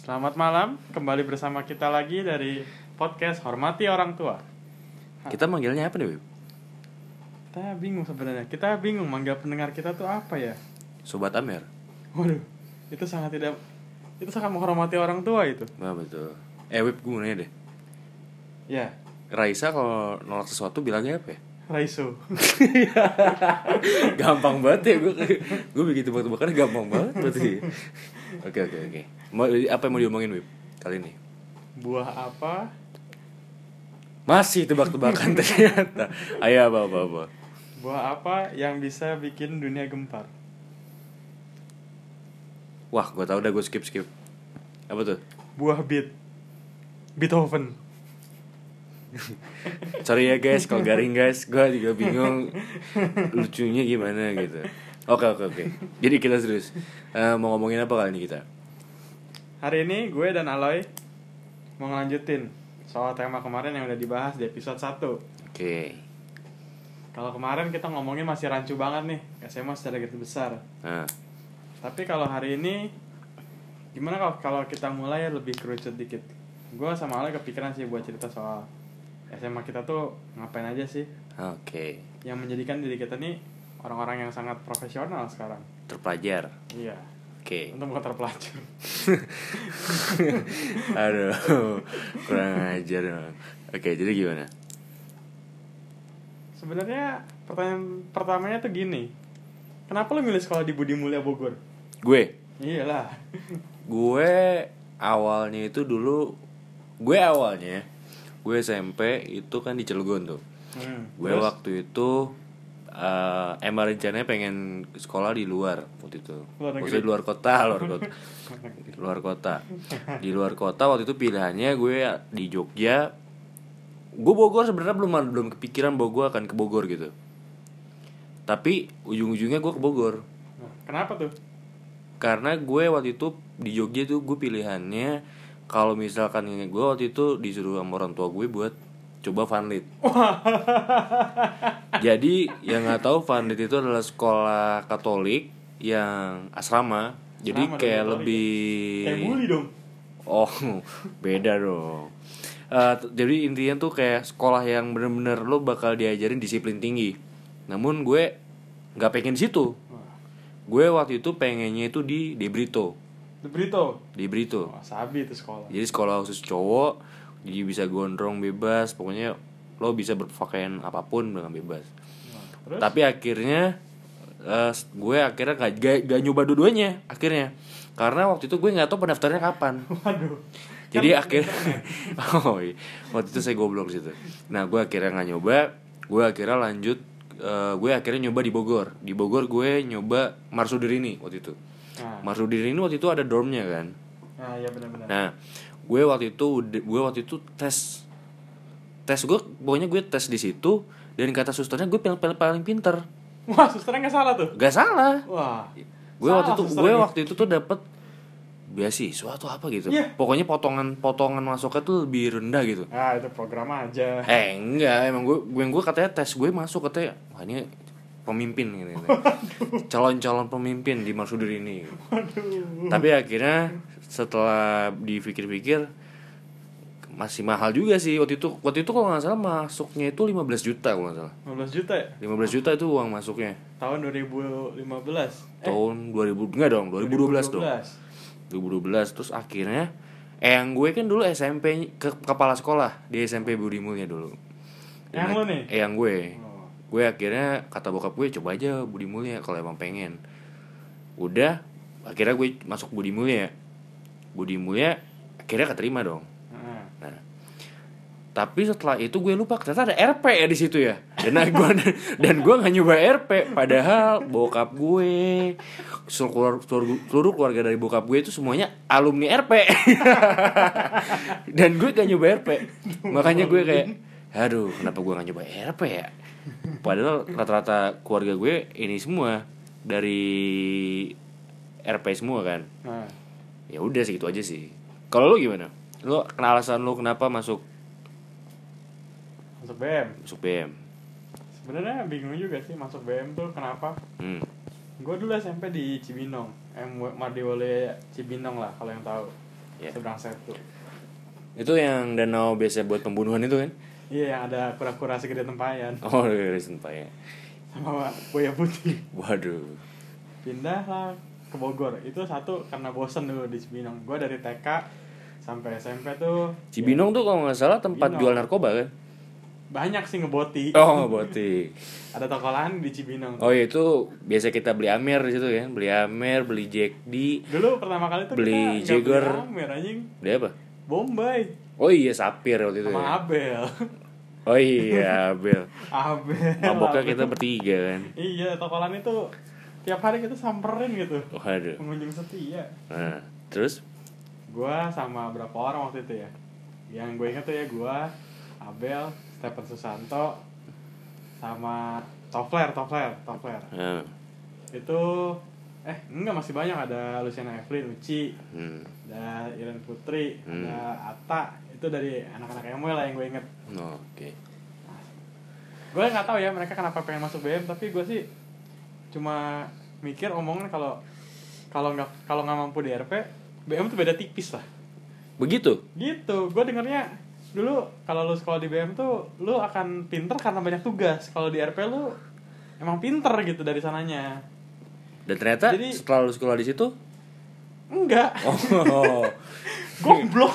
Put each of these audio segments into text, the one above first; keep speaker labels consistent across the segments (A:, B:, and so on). A: Selamat malam, kembali bersama kita lagi dari podcast Hormati Orang Tua.
B: Kita manggilnya apa nih, Beb?
A: Kita bingung sebenarnya, kita bingung manggil pendengar kita tuh apa ya?
B: Sobat Amer.
A: Waduh, itu sangat tidak itu sangat menghormati orang tua itu.
B: Wah, betul. Eh, Beb, gue mau nanya deh.
A: Ya,
B: Raisa kalau nolak sesuatu bilangnya apa ya?
A: Raiso.
B: gampang banget ya gue gue bikin tebak-tebakan gampang banget berarti oke oke oke mau apa yang mau diomongin Beb kali ini
A: Buah apa?
B: masih tebak-tebakan ternyata ayo apa apa apa
A: Buah apa yang bisa bikin dunia gempar?
B: wah gue tau udah gue skip skip apa tuh
A: Buah beat. Beethoven.
B: sorry ya guys kalau garing guys gue juga bingung lucunya gimana gitu oke oke oke jadi kita serius Eh, mau ngomongin apa kali ini kita
A: Hari ini gue dan Aloy mau ngelanjutin soal tema kemarin yang udah dibahas di episode 1.
B: oke
A: Kalau kemarin kita ngomongin masih rancu banget nih, SMA secara gitu besar.
B: nah
A: Tapi kalau hari ini gimana kalau kalau kita mulai lebih kerucut dikit? Gue sama Ale kepikiran sih buat cerita soal SMA kita tuh ngapain aja sih
B: oke
A: yang menjadikan diri kita nih orang-orang yang sangat profesional sekarang.
B: terpelajar
A: Iya.
B: oke
A: Untuk bukan terpelajar.
B: Aduh, kurang ajar dong. Oke, jadi gimana?
A: Sebenarnya pertanyaan pertamanya tuh gini. Kenapa lu milih sekolah di Budi Mulia Bogor?
B: Gue,
A: Iyalah.
B: gue awalnya itu dulu, gue awalnya, gue SMP itu kan di Cilegon tuh.
A: Hmm.
B: Gue
A: Terus?
B: waktu itu eh emang rencananya pengen sekolah di luar waktu itu.
A: Luar negeri.
B: Maksudnya di luar kota, luar kota. Di luar kota. Di luar kota waktu itu pilihannya gue di Jogja. Gue Bogor sebenarnya belum belum kepikiran bahwa gue akan ke Bogor gitu. Tapi ujung-ujungnya gue ke Bogor
A: Nah, Kenapa tuh?
B: karena gue waktu itu di Jogja tuh gue pilihannya kalau misalkan ini gue waktu itu disuruh sama orang tua gue buat coba fanlit jadi yang nggak tahu fanlit itu adalah sekolah Katolik yang asrama jadi
A: Asrama dan
B: kayak
A: Katolik. ya?
B: lebih
A: Kayak bully dong.
B: Oh, beda dong. Eh, t- jadi intinya tuh kayak sekolah yang bener-bener lo bakal diajarin disiplin tinggi. Namun gue nggak pengen di situ. Gue waktu itu pengennya itu di di Brito,
A: The Brito.
B: di Brito.
A: Wah, sabi itu sekolah.
B: Jadi sekolah khusus cowok, jadi bisa gondrong bebas. Pokoknya lo bisa berpakaian apapun dengan bebas.
A: Nah, terus?
B: Tapi akhirnya eh, s- gue akhirnya gak, gak, gak nyoba dua-duanya akhirnya karena waktu itu gue nggak tahu pendaftarannya kapan
A: Waduh. Kan-
B: jadi akhirnya oh iya. waktu itu saya goblok di situ nah gue akhirnya nggak nyoba gue akhirnya lanjut eh, gue akhirnya nyoba di Bogor di Bogor gue nyoba Marsudirini waktu itu
A: Nah,
B: Marsudirini waktu itu ada dormnya kan
A: nah ya benar-benar.
B: nah gue waktu itu udah- gue waktu itu tes tes gue pokoknya gue tes di situ dan kata susternya gue paling paling, paling pinter
A: Wah, susternya nggak salah tuh.
B: gak salah
A: Wah.
B: gue
A: salah
B: waktu itu gue
A: susternya.
B: waktu itu tuh dapet beasiswa atau apa gitu
A: Iya.
B: pokoknya potongan potongan masuknya tuh lebih rendah gitu
A: Ah, itu program aja.
B: Eh enggak, emang gue gue gue katanya tes gue masuk katanya wah ini pemimpin gitu. Calon-calon pemimpin di Marsudir ini. Tapi akhirnya setelah dipikir-pikir masih mahal juga sih waktu itu waktu itu kalau nggak salah masuknya itu 15 juta kalau nggak salah
A: 15 juta ya?
B: 15 juta itu uang masuknya
A: Tahun 2015.
B: tahun 2000 enggak dong 2012, dong 2012 terus akhirnya Eyang gue kan dulu SMP ke kepala sekolah di SMP Budi Mulia dulu.
A: Eyang lo nih?
B: Eyang gue.
A: Oh.
B: Gue akhirnya kata bokap gue coba aja Budi Mulia kalau emang pengen. Udah akhirnya gue masuk Budi Mulia. Budi Mulia akhirnya keterima dong.
A: Nah,
B: Nah, tapi setelah itu gue lupa ternyata ada RP ya di situ ya. Dan gue dan gue nggak nyoba RP. Padahal bokap gue seluruh, seluruh, seluruh keluarga dari bokap gue itu semuanya alumni RP. dan gue gak nyoba RP. Makanya gue kayak, aduh kenapa gue gak nyoba RP ya? Padahal rata-rata keluarga gue ini semua dari RP semua kan
A: nah.
B: ya udah segitu aja sih kalau lu gimana lu kena alasan lu kenapa masuk
A: Masuk BM.
B: masuk BM
A: Sebenarnya bingung juga sih masuk BM tuh kenapa?
B: hmm.
A: Gue dulu SMP di Cibinong, M Mardiwale Cibinong lah kalau yang tahu.
B: Iya.
A: seberang setu
B: Itu yang danau biasa buat pembunuhan itu kan?
A: iya yang ada kura-kura segede tempayan
B: Oh, recent pak ya.
A: sama buaya putih
B: Waduh.
A: pindahlah ke Bogor itu satu karena bosen dulu di Cibinong gue dari TK sampai SMP tuh
B: Cibinong tuh kalau nggak salah tempat
A: Cibinong.
B: jual narkoba kan?
A: banyak sih ngeboti
B: Oh, botik.
A: ada toko lahan di Cibinong
B: Oh, iya, itu biasa kita beli amer di situ ya. Beli amer, beli Jack D,
A: dulu pertama kali tuh
B: Beli
A: kita nggak
B: Jaeger.
A: beli Amer anjing
B: beli apa?
A: Bombay
B: Oh iya, sapir waktu itu.
A: sama
B: Ya.
A: Abel
B: Oh iya, Abel.
A: Abel
B: Maboknya
A: Abel.
B: kita bertiga kan.
A: iya toko lahan itu tiap hari kita samperin gitu
B: Waduh.
A: pengunjung setia
B: Nah, terus
A: gua sama berapa orang waktu itu ya yang gue inget tuh ya gua Abel Stephen Susanto sama Tofler Tofler Tofler
B: nah,
A: itu eh enggak masih banyak ada Luciana Evelyn Uci
B: hmm.
A: ada Iren Putri
B: Hmm.
A: ada Ata itu dari anak-anak MW lah yang gue inget
B: Oh, Oke.
A: gue nggak tahu ya mereka kenapa pengen masuk BM tapi gue sih cuma mikir omongan kalau kalau nggak kalau nggak mampu di RP BM tuh beda tipis lah
B: Begitu.
A: gitu gue dengernya dulu kalau lu sekolah di BM tuh lu akan pinter karena banyak tugas kalau di RP lu emang pinter gitu dari sananya
B: Dan ternyata
A: Jadi-
B: setelah lu sekolah di situ,
A: enggak
B: oh,
A: goblok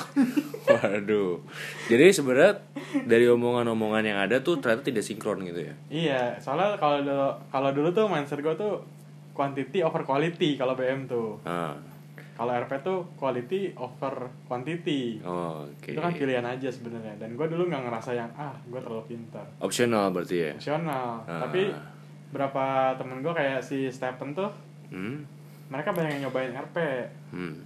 B: waduh. Jadi sebenarnya dari omongan-omongan yang ada tuh ternyata tidak sinkron gitu ya.
A: iya soalnya kalau dulu kalau dulu tuh mindset gue tuh quantity over quality kalau BM tuh
B: Ah,
A: kalau RP tuh quality over quantity
B: oh, oke.
A: itu kan pilihan aja sebenarnya dan gue dulu nggak ngerasa yang ah gue terlalu pintar
B: Optional berarti ya.
A: nasional
B: Ah.
A: tapi berapa temen gue kayak si Stephen tuh
B: Hmm.
A: mereka banyak yang nyobain RP
B: Hmm.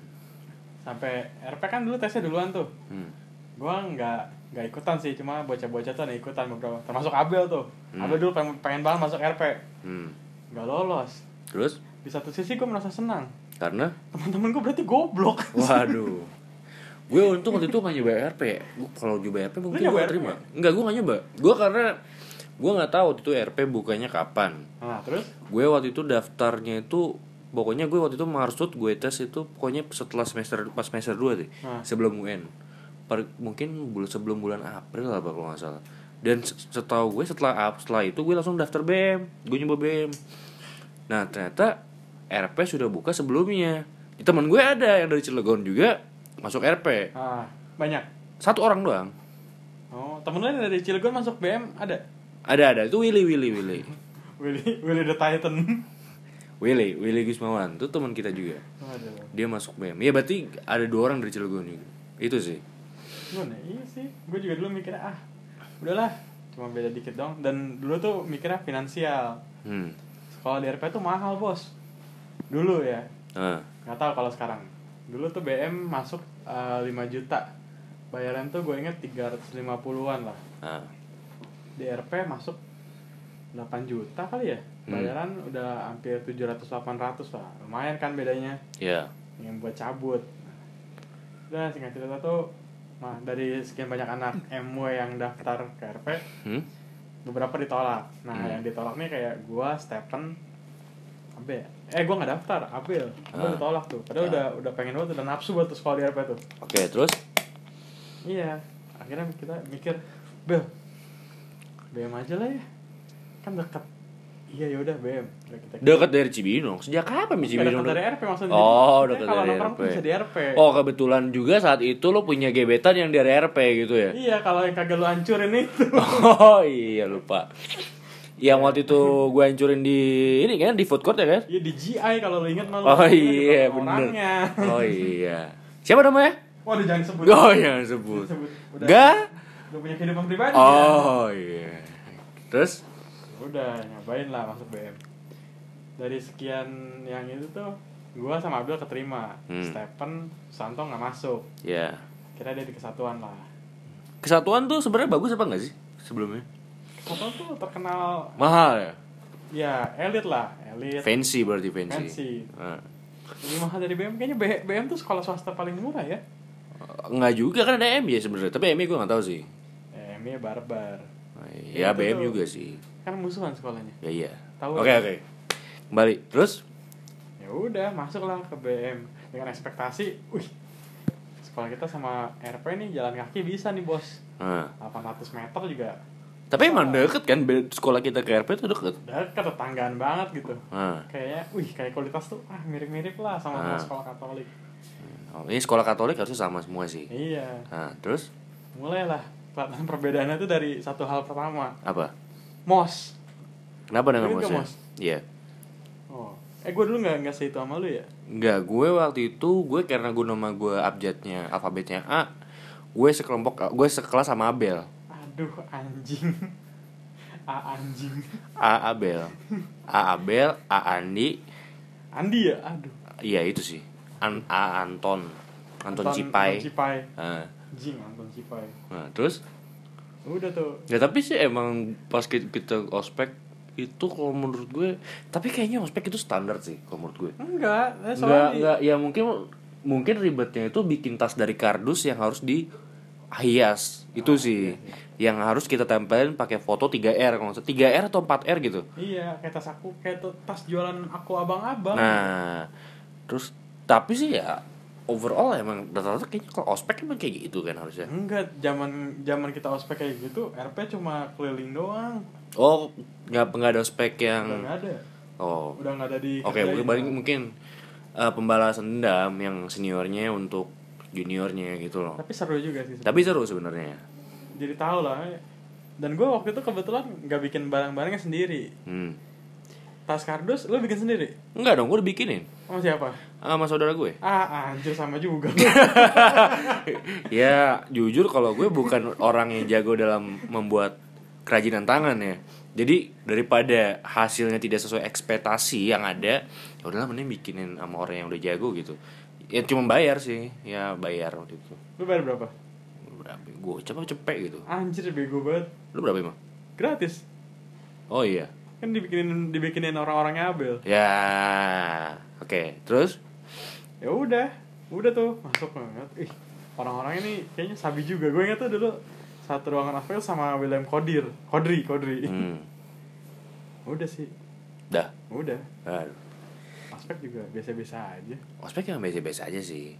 A: sampai RP kan dulu tesnya duluan tuh
B: Hmm.
A: gue nggak nggak ikutan sih cuma bocah-bocah tuh ada ikutan beberapa termasuk Abel tuh
B: Hmm.
A: Abel dulu pengen, pengen banget masuk RP
B: Hmm.
A: nggak lolos
B: Terus
A: di satu sisi gue merasa senang
B: karena
A: teman-teman gue berarti goblok
B: waduh. Gue untung waktu itu gak nyoba RP. Gua kalau nyoba RP mungkin
A: nyoba
B: gue
A: RP?
B: terima. Enggak, gue gak nyoba. Gue karena gue nggak tahu waktu itu RP bukanya kapan.
A: nah terus
B: gue waktu itu daftarnya itu pokoknya gue waktu itu marsut gue tes itu pokoknya setelah semester pas semester 2 deh
A: Nah.
B: sebelum UN Per- mungkin bul sebelum bulan April apa kalau nggak salah dan se- setahu gue setelah ap- setelah itu gue langsung daftar BM gue nyoba BM nah ternyata RP sudah buka sebelumnya teman gue ada yang dari Cilegon juga masuk RP
A: ah banyak
B: satu orang doang
A: oh temen lu dari Cilegon masuk BM ada
B: ada ada itu Willy Willy Willy
A: Willy Willy the Titan
B: Willy Willy Gusmawan itu teman kita juga
A: Aduh.
B: dia masuk BM ya berarti ada dua orang dari Cilegon juga itu sih
A: Gue nih, iya sih, gue juga dulu mikirnya ah udahlah cuma beda dikit dong dan dulu tuh mikirnya finansial
B: hmm
A: sekolah di RP tuh mahal bos dulu ya
B: ah
A: nggak tahu kalau sekarang dulu tuh BM masuk eh, 5 juta bayaran tuh gue inget 350-an lah
B: ah
A: di RP masuk 8 juta kali ya
B: Hmm.
A: bayaran udah hampir 700-800 lah lumayan kan bedanya
B: ya
A: yang buat cabut udah singkat cerita tuh nah dari sekian banyak anak MW yang daftar ke RP
B: hmm
A: beberapa ditolak nah
B: Hmm.
A: yang ditolak nih kayak gua Stephen Abel eh gua nggak daftar Abel Abel
B: Ah.
A: ditolak tuh padahal
B: Ah.
A: udah udah pengen banget udah nafsu buat tuh sekolah di RP tuh
B: oke terus
A: iya akhirnya kita mikir Bel BM aja lah ya kan deket iya yaudah BM udah kita
B: dekat dari Cibinong sejak kapan
A: Nggak
B: di Cibinong
A: deket dari RP maksudnya
B: Oh,
A: Jadi,
B: deket
A: kalau
B: dari
A: nongkrong tuh
B: RP.
A: bisa di RP
B: oh kebetulan juga saat itu lo punya gebetan yang dari RP gitu ya
A: Iya, kalau yang kagak lu hancurin itu.
B: oh iya lupa yang waktu itu gue hancurin di ini kan di food court ya kan
A: Iya di GI kalau lu inget malu.
B: oh iya bener
A: Orangnya.
B: oh iya siapa namanya
A: Waduh jangan sebut.
B: oh yang sebut
A: Sebut. Udah.
B: Ga?
A: Udah punya kehidupan pribadi.
B: oh iya terus
A: Ya. Udah nyobain lah masuk BM. Dari sekian yang itu tuh, gua sama Abdul keterima.
B: Hmm.
A: Stephen, Santo nggak masuk.
B: ya
A: Kira dia di kesatuan lah.
B: Kesatuan tuh sebenarnya bagus apa enggak sih sebelumnya?
A: Kesatuan tuh terkenal,
B: Mahal ya?
A: ya elit lah, elit.
B: Iya. Fancy berarti fancy.
A: Fancy.
B: Nah,
A: Lebih mahal dari BM kayaknya B- BM tuh sekolah swasta paling murah ya.
B: enggak juga kan ada MI ya sebenarnya, tapi MI gue enggak tahu sih.
A: Eh, ini barbar.
B: Ya,
A: Itu
B: BM
A: tuh.
B: juga sih.
A: Kan musuhan sekolahnya.
B: Ya iya.
A: Tahu.
B: Oke oke. Kembali. Terus
A: ya udah masuklah ke BM dengan ekspektasi, wih sekolah kita sama RP nih jalan kaki bisa nih bos
B: Nah.
A: 800 meter juga
B: Tapi emang deket kan beda- sekolah kita ke RP tuh deket.
A: deket tetanggaan banget gitu
B: Nah.
A: kayaknya wih kayak kualitas tuh ah mirip-mirip lah sama
B: Ah.
A: sekolah Katolik
B: Oh, Ini sekolah Katolik harusnya sama semua sih.
A: iya
B: Nah, terus
A: mulailah kelihatan perbedaannya tuh dari satu hal pertama
B: apa?
A: mos
B: Kenapa dengan
A: Dulu ke
B: mosnya?
A: mos.
B: Iya.
A: oh eh gue dulu nggak nggak seitu sama lu ya
B: Enggak, gue waktu itu gue karena gue nama gue abjadnya alfabetnya A, gue sekelompok gue sekelas sama Abel.
A: aduh anjing ah anjing
B: A Abel. A Abel, A Andi,
A: Andi ya aduh
B: iya itu sih. An A Anton. Anton, Cipai.
A: Anton Cipai
B: Nah,
A: anjing Anton Cipai
B: nah, terus
A: udah tuh
B: ya tapi sih emang pas ki- kita ospek itu kalau menurut gue tapi kayaknya ospek itu standar sih kalau menurut gue.
A: enggak eh, soalnya
B: Enggak, enggak, ya mungkin mungkin ribetnya itu bikin tas dari kardus yang harus dihias. Itu sih yang harus kita tempelin pakai foto 3R kalau nggak salah. 3R atau 4R gitu.
A: iya kayak tas aku kayak tuh tas jualan aku abang-abang
B: Nah, terus tapi sih ya overall emang rata-rata kayaknya kalau ospek emang kayak gitu kan harusnya.
A: enggak zaman zaman kita ospek kayak gitu RP cuma keliling doang
B: Oh, nggak nggak ada ospek
A: udah
B: yang
A: nggak ada
B: oh
A: udah nggak ada di
B: Oke, mungkin
A: kerjain.
B: balik- mungkin eh, pembalasan dendam yang seniornya untuk juniornya gitu loh.
A: tapi seru juga sih
B: Tapi seru sebenarnya.
A: jadi tahu lah dan gue waktu itu kebetulan nggak bikin barang-barangnya sendiri
B: Hmm.
A: tas kardus lu bikin sendiri
B: Enggak dong, gue udah bikinin
A: sama siapa
B: sama saudara gue.
A: ah anjir sama juga
B: ya, jujur kalau gue bukan orang yang jago dalam membuat kerajinan tangan ya. Jadi daripada hasilnya tidak sesuai ekspektasi yang ada, ya udahlah mending bikinin sama orang yang udah jago gitu. Ya cuma bayar sih, ya bayar waktu itu.
A: lu bayar berapa
B: Lu Berapa? Gue coba cepet gitu.
A: anjir bego banget
B: Lu berapa emang?
A: gratis
B: Oh iya.
A: kan dibikinin dibikinin orang-orangnya abel
B: Ya. Oke, terus
A: ya udah udah tuh masuk banget ih orang-orang ini kayaknya sabi juga gue ingat tuh dulu satu ruangan Avel sama William Kodir Kodri Kodri
B: hmm,
A: udah sih
B: dah.
A: udah
B: Aduh.
A: aspek juga biasa-biasa aja
B: ospek yang biasa-biasa aja sih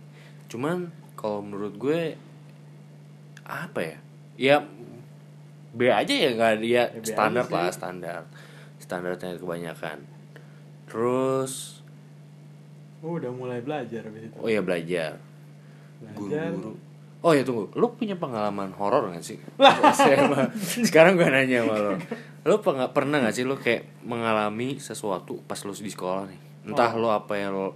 B: cuman kalau menurut gue apa ya ya B aja ya nggak ada- ya,
A: Ya, B
B: standar
A: aja sih.
B: lah standar standarnya kebanyakan terus
A: Oh, udah mulai belajar abis itu
B: oh ya belajar
A: belajar
B: guru-guru oh ya tunggu lu punya pengalaman horor nggak sih SMA. sekarang gue nanya sama lo lu penga- pernah nggak sih lu kayak mengalami sesuatu pas lu di sekolah nih entah
A: Oh.
B: lo apa ya lo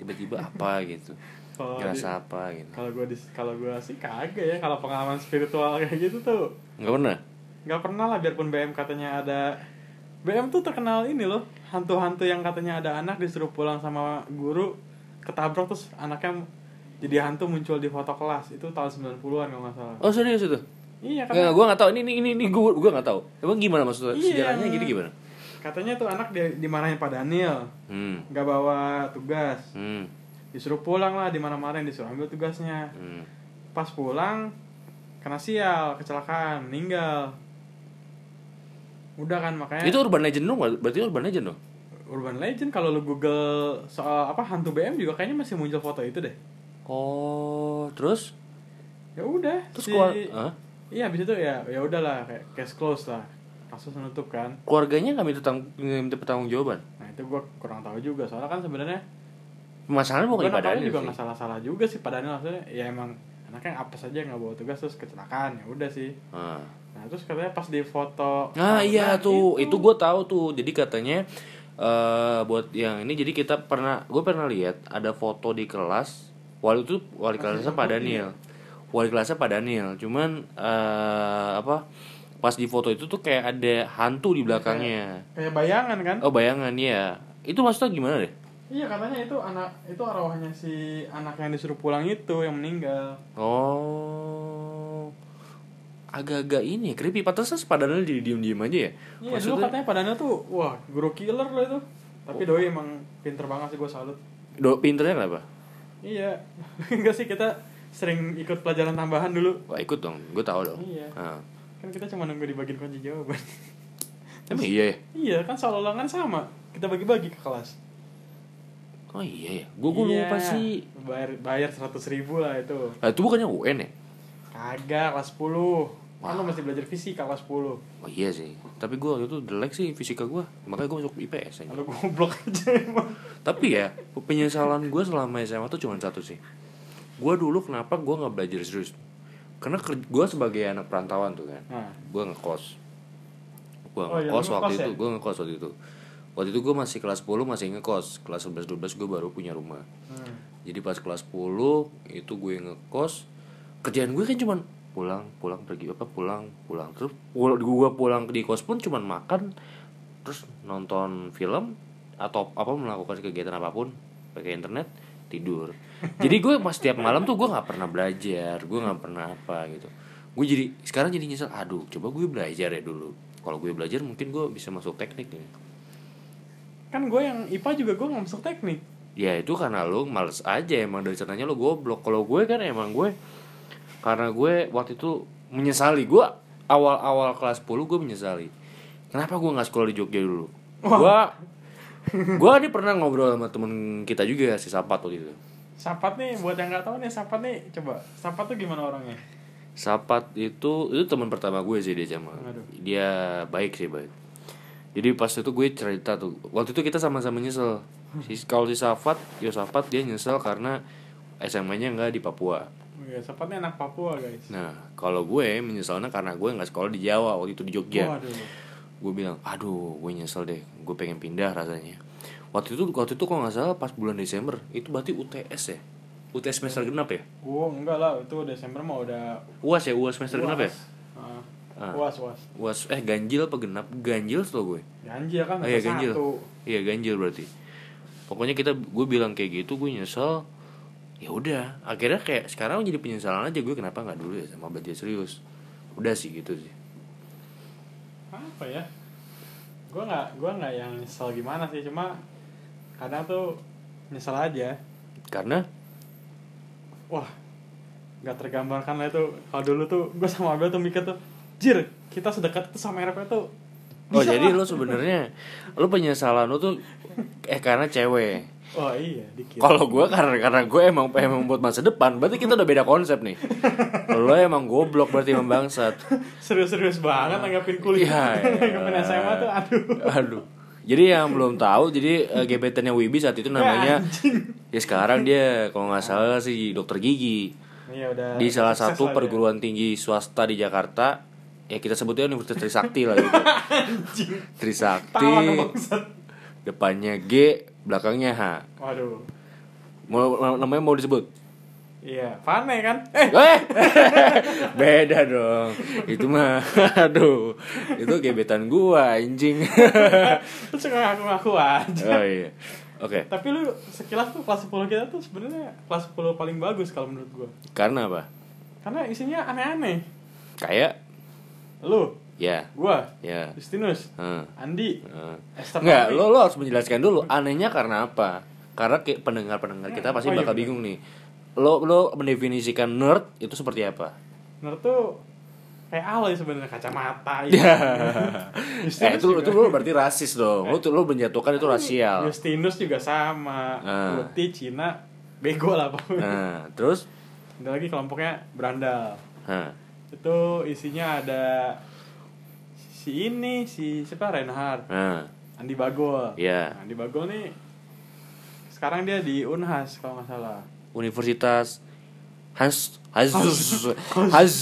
B: tiba-tiba apa gitu
A: Kalau Oh, di-
B: ngerasa apa gitu
A: kalau gue dis kalau gue sih kagak ya kalau pengalaman spiritual kayak gitu tuh
B: nggak pernah
A: nggak pernah lah biarpun BM katanya ada BM tuh terkenal ini loh hantu-hantu yang katanya ada anak disuruh pulang sama guru ketabrak terus anaknya jadi hantu muncul di foto kelas itu tahun 90-an kalau nggak salah
B: Oh serius itu?
A: iya
B: Nggak,
A: katanya,
B: gue nggak tahu. Ini ini ini, ini gue gue nggak tahu. Emang gimana maksudnya?
A: Iya.
B: Sejarahnya gini gimana?
A: katanya tuh anak dia dimarahin Pak Daniel
B: Hmm.
A: nggak bawa tugas
B: Hmm.
A: disuruh pulang lah dimarah-marahin disuruh ambil tugasnya
B: Hmm.
A: pas pulang kena sial kecelakaan meninggal udah kan makanya
B: Itu urban legend dong, berarti urban legend dong.
A: urban legend kalau lu google soal apa hantu BM juga kayaknya masih muncul foto itu deh
B: Oh, terus
A: ya udah
B: terus
A: si-
B: keluar, Hah?
A: iya abis itu ya ya udahlah kayak case close lah kasus menutup kan
B: keluarganya nggak minta tang nggak minta pertanggung jawaban.
A: nah itu gua kurang tahu juga soalnya kan sebenarnya
B: Masalahnya bukan
A: gua
B: pada
A: nakalnya
B: Daniel
A: juga nggak
B: sih.
A: salah salah juga sih padahal maksudnya ya emang anaknya apa saja nggak bawa tugas terus kecelakaan ya udah sih
B: Ah.
A: nah terus katanya pas di foto
B: Nah, iya
A: tahunan
B: tuh,
A: gitu.
B: itu, gue tahu tuh. Jadi katanya eh buat yang ini jadi kita pernah gue pernah lihat ada foto di kelas wali itu wali kelasnya Pak
A: iya.
B: Daniel. Wali kelasnya Pak Daniel. Cuman eh apa pas di foto itu tuh kayak ada hantu di belakangnya.
A: kayak bayangan kan
B: Oh, bayangan ya. Itu maksudnya gimana deh?
A: iya katanya itu anak itu arwahnya si anak yang disuruh pulang itu yang meninggal
B: Oh. Agak-agag ini ya, creepy. Pantesan Pak Daniel jadi diem-diem aja ya.
A: Iya dulu katanya Oh. padanya tuh wah guru killer loh itu. Tapi doi emang pinter banget sih gue salut.
B: do pinternya kenapa?
A: Iya. Enggak sih kita sering ikut pelajaran tambahan dulu.
B: Wah, ikut dong. Gue tahu dong.
A: Iya.
B: Ah.
A: Kan kita cuma nunggu dibagiin kunci jawaban.
B: Emang iya ya?
A: kan iya kan soal ulangan sama. Kita bagi-bagi ke kelas.
B: oh iya ya gue gue lupa sih
A: Bayar bayar seratus ribu lah itu.
B: Nah, itu bukannya UN ya
A: Kagak kelas 10 Kan lu masih belajar fisika kelas 10
B: oh iya sih tapi gue waktu itu jelek sih fisika gue makanya gue masuk IPS aja
A: Lalu goblok aja emang
B: tapi ya penyesalan gue selama SMA tuh cuma satu sih gue dulu kenapa gue nggak belajar serius karena gue sebagai anak perantauan tuh kan
A: nah,
B: gue ngekos gue
A: Oh, iya,
B: ngekos
A: lu ngekos
B: waktu
A: ya?
B: itu gue ngekos waktu itu waktu itu gue masih kelas 10 masih ngekos kelas 11 12 gue baru punya rumah
A: hmm.
B: jadi pas kelas 10 itu gue ngekos kerjaan gue kan cuman pulang pulang pergi apa pulang pulang terus pul gue pulang di kos pun cuman makan terus nonton film atau apa melakukan kegiatan apapun pakai internet tidur jadi gue pas tiap malam tuh gue nggak pernah belajar gue nggak pernah apa gitu gue jadi sekarang jadi nyesel aduh coba gue belajar ya dulu kalau gue belajar mungkin gue bisa masuk teknik nih
A: Kan gue yang IPA juga gue gak masuk teknik
B: ya itu karena lo males aja emang dari sananya lo goblok kalau gue kan emang gue karena gue waktu itu menyesali gue awal-awal kelas 10 gue menyesali kenapa gue nggak sekolah di Jogja dulu gue gue ini pernah ngobrol sama temen kita juga si Sapat waktu itu
A: Sapat nih buat yang gak tahu nih Sapat nih coba Sapat tuh gimana orangnya
B: Sapat itu itu teman pertama gue sih dia sama
A: Aduh.
B: dia baik sih baik jadi pas itu gue cerita tuh waktu itu kita sama-sama nyesel si kalau si Safat yo Safat dia nyesel karena SMA-nya nggak di
A: Oke,
B: Papua
A: Oh iya, Sapat nih anak Papua guys
B: Nah, kalau gue menyesalnya karena gue nggak sekolah di Jawa waktu itu di Jogja.
A: Waduh
B: Gue bilang, aduh, gue nyesel deh. Gue pengen pindah rasanya. Waktu itu, waktu itu kalau nggak salah pas bulan Desember itu berarti UTS ya, UTS semester genap ya,
A: Gue enggak lah itu Desember mah udah
B: UAS ya, UAS semester genap ya.
A: Ah.
B: Ah.
A: Uas uas
B: UAS eh ganjil apa genap? Ganjil setahu gue.
A: Ganjil kan
B: Oh, iya,
A: nomor
B: ganjil.
A: satu
B: Iya ganjil berarti. Pokoknya kita gue bilang kayak gitu gue nyesel. Ya udah, akhirnya kayak sekarang jadi penyesalan aja gue kenapa nggak dulu ya sama belajar serius. Udah sih gitu sih.
A: Apa ya Gue gak, gua gak yang nyesel gimana sih Cuma kadang tuh nyesel aja
B: Karena
A: wah nggak tergambarkan lah itu kalau dulu tuh gue sama Abel tuh mikir tuh jir kita sedekat itu sama RP tuh
B: Oh
A: Bisa
B: jadi
A: lah."
B: lo sebenarnya lo penyesalan lo tuh eh karena cewek.
A: oh iya dikit
B: Kalau gue karena karena gue emang emang buat masa depan, berarti kita udah beda konsep nih. Lo emang goblok berarti emang bangsat.
A: serius-serius banget tanggapin kuliah
B: Iya,
A: tanggapin
B: iya.
A: SMA tuh aduh
B: Aduh. Jadi yang belum tahu, jadi eh, gebetannya Wibi saat itu namanya ya sekarang dia kalau nggak salah sih dokter gigi
A: iya udah
B: di salah
A: sukses lah
B: satu
A: dia.
B: perguruan tinggi swasta di Jakarta ya kita sebutnya Universitas Trisakti lah gitu.
A: anjing
B: Trisakti
A: tawa dong bangsat
B: depannya G belakangnya H
A: waduh
B: mau mau- namanya mau disebut
A: iya Fane kan eh
B: eh beda dong itu mah aduh itu gebetan gua anjing
A: lu suka ngaku-ngaku aja
B: oh iya oke
A: tapi lu sekilas tuh kelas 10 kita tuh sebenarnya kelas 10 paling bagus kalau menurut gue
B: karena apa
A: karena isinya aneh-aneh
B: kayak
A: lu
B: ya
A: gue
B: ya
A: Justinus
B: Heeh.
A: Andi
B: heeh.
A: Esther Fahmi.
B: nggak lo lo harus menjelaskan dulu anehnya karena apa karena kayak pendengar-pendengar kita
A: Oh,
B: pasti
A: iya,
B: bakal
A: bener.
B: bingung nih lo lo mendefinisikan nerd itu seperti apa
A: Menurut tuh kayak alay sebenarnya kacamata gitu.
B: eh
A: Iya,
B: itu itu lo berarti rasis dong lo tuh- lo menjatuhkan itu rasial
A: Justinus juga sama
B: Ah.
A: putih Cina bego lah pokoknya
B: nah terus Nah,
A: ada lagi kelompoknya berandal
B: Hah.
A: itu isinya ada si ini si siapa Reinhard
B: Nah,
A: Andi Bagol
B: Iya.
A: Andi Bagol nih sekarang dia di Unhas kalau nggak salah
B: Universitas Hans Hans Hans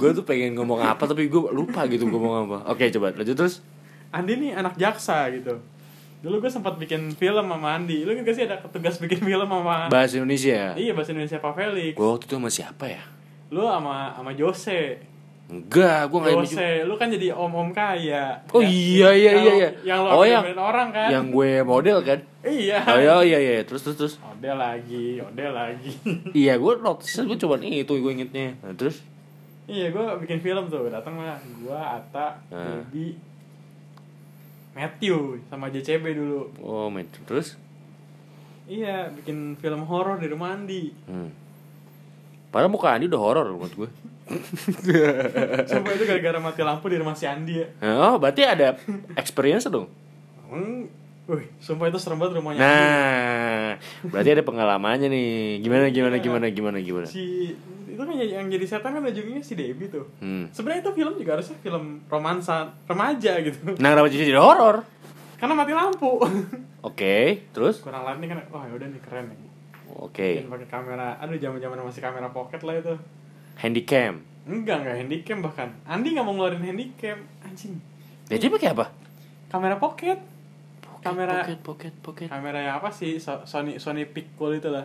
B: gue tuh pengen ngomong apa tapi gue lupa gitu ngomong apa oke coba lanjut terus
A: Andi nih anak jaksa gitu dulu gue sempat bikin film sama Andi lu nggak sih ada tugas bikin film sama
B: bahasa Indonesia ya?
A: iya bahasa Indonesia Pak Felix
B: gue waktu itu sama siapa ya
A: lu sama sama Jose
B: enggak gue nggak ada baju-
A: Jose lu kan jadi om om kaya
B: oh
A: Ya,
B: iya iya
A: yang-
B: iya iya
A: yang lo
B: oh yang
A: orang kan
B: yang gue model kan
A: iya
B: oh iya iya iya terus terus terus
A: ode lagi ode lagi
B: iya gue notice gue coba itu gue ingetnya nah, terus
A: iya gue bikin film tuh datang lah gue Ata
B: Nah.
A: Bibi Matthew sama JCB dulu
B: oh men terus
A: iya bikin film horor di rumah Andi
B: hmm. padahal muka Andi udah horor menurut gue
A: coba itu gara-gara mati lampu di rumah si Andi ya
B: oh berarti ada experience dong
A: Hmm, Wih, sumpah itu serem banget rumahnya.
B: Nah, berarti ada pengalamannya
A: Iya.
B: nih. Gimana gimana gimana gimana gimana.
A: si itu kan yang jadi setan kan ujungnya si Debbie tuh.
B: Hmm.
A: Sebenarnya itu film juga harusnya film romansa remaja gitu.
B: Nah, kenapa jadi jadi horor?
A: Karena mati lampu.
B: Oke, terus?
A: Kurang lighting kan, wah udah nih keren nih.
B: Oke.
A: Bikin pakai kamera, aduh zaman-zaman masih kamera pocket lah itu.
B: Handycam.
A: Enggak, enggak handycam bahkan. Andi nggak mau ngeluarin handycam, anjing.
B: Nah, Jadi pakai apa?
A: Kamera pocket. kamera
B: Pocket, pocket, pocket.
A: kamera yang apa sih? So- Sony Sony Piccool itu lah.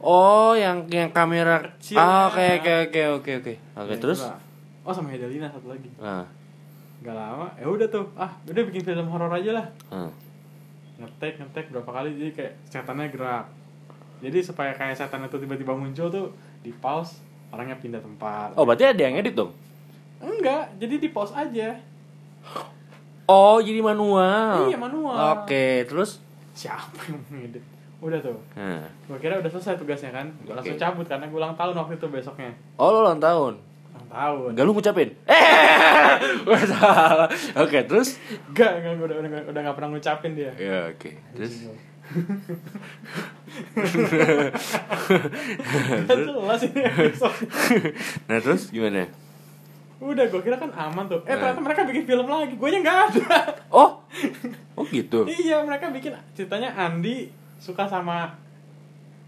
B: Oh, yang yang kamera.
A: Kecil.
B: Ah, Oke, oke, oke, oke, oke. Oke,
A: Ya,
B: terus?
A: itulah. Oh sama Hedalina satu lagi.
B: Nah.
A: Gak lama, ya udah tuh. Ah, udah bikin film horor aja lah.
B: Hmm.
A: ngetek ngetek berapa kali jadi kayak setannya gerak jadi supaya kayak setan itu tiba-tiba muncul tuh di pause orangnya pindah tempat
B: Oh, berarti ada yang edit dong?
A: enggak jadi di pause aja
B: Oh, jadi manual.
A: Iya, manual.
B: Oke, terus?
A: siapa yang ngedit udah tuh
B: Nah.
A: gue kira udah selesai tugasnya kan Gua langsung
B: Oke.
A: cabut karena gue ulang tahun waktu itu besoknya
B: Oh, lo ulang tahun.
A: ulang tahun
B: Enggak lu ngucapin? Eh, wah, salah. Oke, terus?
A: enggak enggak gua udah udah udah gak pernah ngucapin dia
B: Ya, oke. Terus?
A: Gak jelas ini episode
B: nah, terus gimana?
A: Udah gue kira kan aman tuh Eh
B: Nah.
A: ternyata mereka bikin film lagi Gue nya gak ada
B: Oh. Oh, gitu.
A: Iya mereka bikin ceritanya Andi suka sama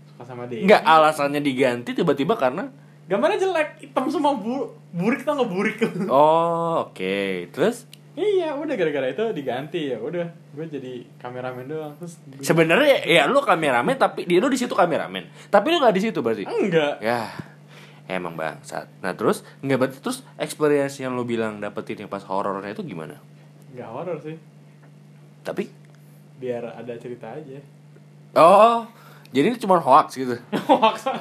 A: suka sama dia.
B: Enggak alasannya diganti tiba-tiba karena
A: Gambarnya jelek, hitam semua bu burik tau nggak burik.
B: Oh, oke. Terus
A: iya udah gara-gara itu diganti ya udah gue jadi kameramen doang terus gua-
B: sebenarnya ya lu kameramen tapi dia lu di situ kameramen. Tapi lu nggak di situ berarti.
A: enggak
B: Ya. Emang bangsat. Nah, terus enggak berarti terus experience yang lu bilang dapetin yang pas horornya itu gimana?
A: enggak horor sih
B: Tapi
A: biar ada cerita aja.
B: oh, jadi ini cuma hoax gitu.
A: Maksa.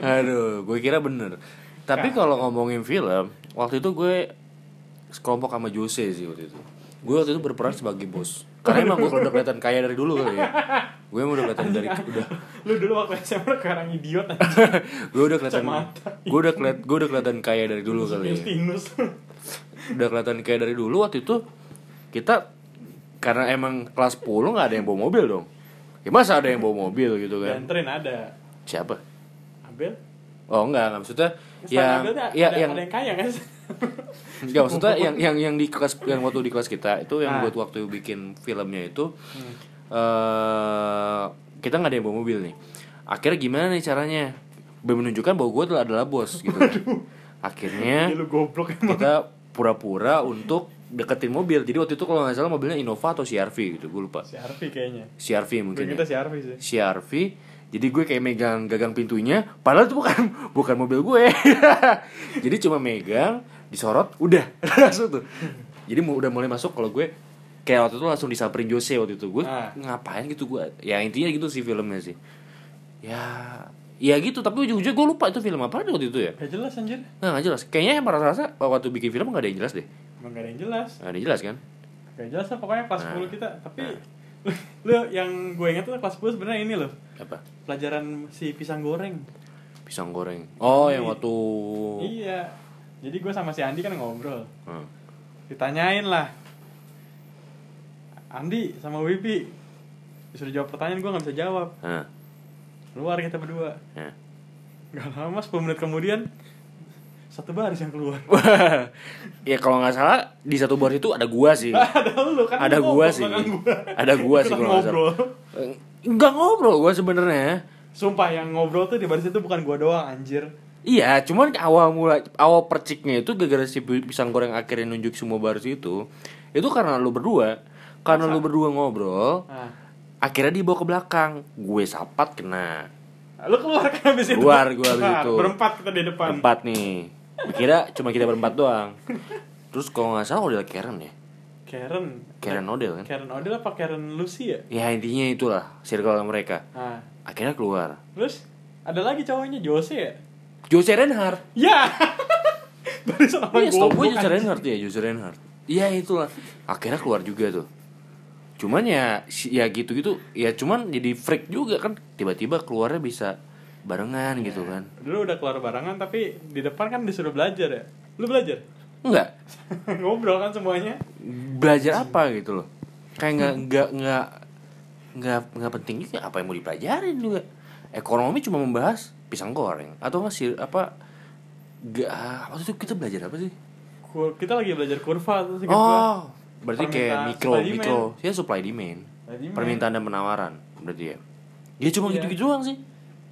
B: Aduh, gue kira bener. Tapi
A: Ya.
B: kalau ngomongin film, waktu itu gue sekelompok sama Jose sih waktu itu. Gue waktu itu berperan sebagai bos. Karena emang gue kalau udah kelihatan kaya dari dulu kali ya. Gue emang udah kelihatan dari udah.
A: Lu dulu waktu SMA sekarang idiot aja.
B: Gue udah kelihatan
A: Kacamata. Iya.
B: gue udah keliat, gue udah kelihatan kaya dari dulu kali ya.
A: Justinus.
B: Udah kelihatan kaya dari dulu waktu itu kita karena emang kelas 10 nggak ada yang bawa mobil dong. Ya masa ada yang bawa mobil gitu kan?
A: Dan tren Ya, ada.
B: Siapa?
A: Abel.
B: Oh enggak, enggak maksudnya
A: Selain
B: yang
A: Abel tuh ada,
B: ya, yang
A: ada yang kaya kan?
B: Enggak maksudnya yang yang yang di kelas yang waktu di kelas kita itu
A: Ah.
B: yang buat waktu bikin filmnya itu
A: Hmm.
B: eh kita nggak ada yang bawa mobil nih. Akhirnya gimana nih caranya? Be- Menunjukkan bahwa gue adalah, adalah bos gitu.
A: Ya,
B: Akhirnya
A: Iya, lu goblok emang.
B: kita pura-pura untuk deketin mobil. Jadi waktu itu kalau nggak salah mobilnya Innova atau CRV gitu, gue lupa.
A: Si Arfi kayaknya.
B: CRV
A: Gue
B: mungkin.
A: kita
B: Ya.
A: si Arfi sih.
B: CRV. Jadi gue kayak megang gagang pintunya, padahal itu bukan bukan mobil gue. Jadi cuma megang, disorot, udah langsung tuh. Jadi mu- udah mulai masuk kalau gue kayak waktu itu langsung disamperin Jose waktu itu gue
A: Ah.
B: ngapain gitu gue ya intinya gitu sih filmnya sih ya ya gitu tapi ujung-ujungnya gue lupa itu film apa waktu itu ya
A: Gak jelas anjir.
B: nah nggak jelas kayaknya yang rasa-rasa waktu bikin film nggak ada yang jelas deh
A: Emang gak ada yang jelas.
B: nggak ada yang jelas kan
A: Gak jelas lah pokoknya kelas
B: Nah.
A: 10 kita. Tapi lu yang gue inget tuh kelas 10 sebenarnya ini loh.
B: apa
A: Pelajaran si pisang goreng.
B: pisang goreng oh yang waktu Oh.
A: Iya. Jadi gue sama si Andi kan ngobrol.
B: Hmm.
A: Ditanyain lah. Andi sama Wibi disuruh jawab pertanyaan gue nggak bisa jawab.
B: Hah.
A: Keluar kita berdua.
B: Hah.
A: Gak lama 10 menit kemudian satu baris yang keluar.
B: Wah, ya kalau nggak salah di satu bar itu ada gua sih.
A: ada lu kan.
B: Iya. ada
A: lu
B: gua
A: ngobrol
B: sih.
A: belakang
B: Ada gua sih
A: Ikutan
B: kalau nggak salah.
A: ngobrol.
B: Eh, Nggak ngobrol gua sebenarnya.
A: Sumpah yang ngobrol tuh di baris itu bukan gue doang anjir.
B: Iya, cuman awal mulai awal perciknya itu gara-gara si pisang goreng akhirnya nunjuk semua baris itu. Itu karena lu berdua. Karena lu berdua ngobrol,
A: Nah,
B: akhirnya dibawa ke belakang. Gue sapat kena.
A: lu keluar kan abis itu?
B: Keluar gua abis
A: Nah,
B: itu.
A: Berempat kita di depan.
B: Empat nih. Kira cuma kita berempat doang. Terus kalau nggak salah udah Karen ya.
A: Karen.
B: Karen Odell kan.
A: Karen Odell apa Karen Lucy ya?
B: Ya intinya itulah circle mereka.
A: Nah,
B: Akhirnya keluar.
A: terus ada lagi cowoknya Jose ya?
B: Jose Reinhardt.
A: Ya. Barisan orang
B: Iya, setahu gue
A: goblok,
B: Jose
A: anjing.
B: Reinhardt ya, Jose Reinhardt. Iya itulah. Akhirnya keluar juga tuh. Cuman ya si- ya gitu-gitu, ya cuman jadi freak juga kan. Tiba-tiba keluarnya bisa barengan gitu kan.
A: Dulu udah keluar barangan tapi di depan kan disuruh belajar ya. Lu belajar?
B: Enggak.
A: Ngobrol kan semuanya.
B: Belajar apa gitu loh. kayak nggak nggak nggak nggak nggak penting juga apa yang mau dipelajarin juga ekonomi cuma membahas pisang goreng atau nggak sih apa nggak waktu itu kita belajar apa sih
A: Kur- kita lagi belajar kurva tuh seingat gua.
B: oh berarti kayak
A: Permintaan
B: mikro
A: supply
B: mikro ya supply demand
A: Jadi,
B: permintaan dan penawaran berarti ya ya cuma
A: Iya.
B: gitu-gitu doang sih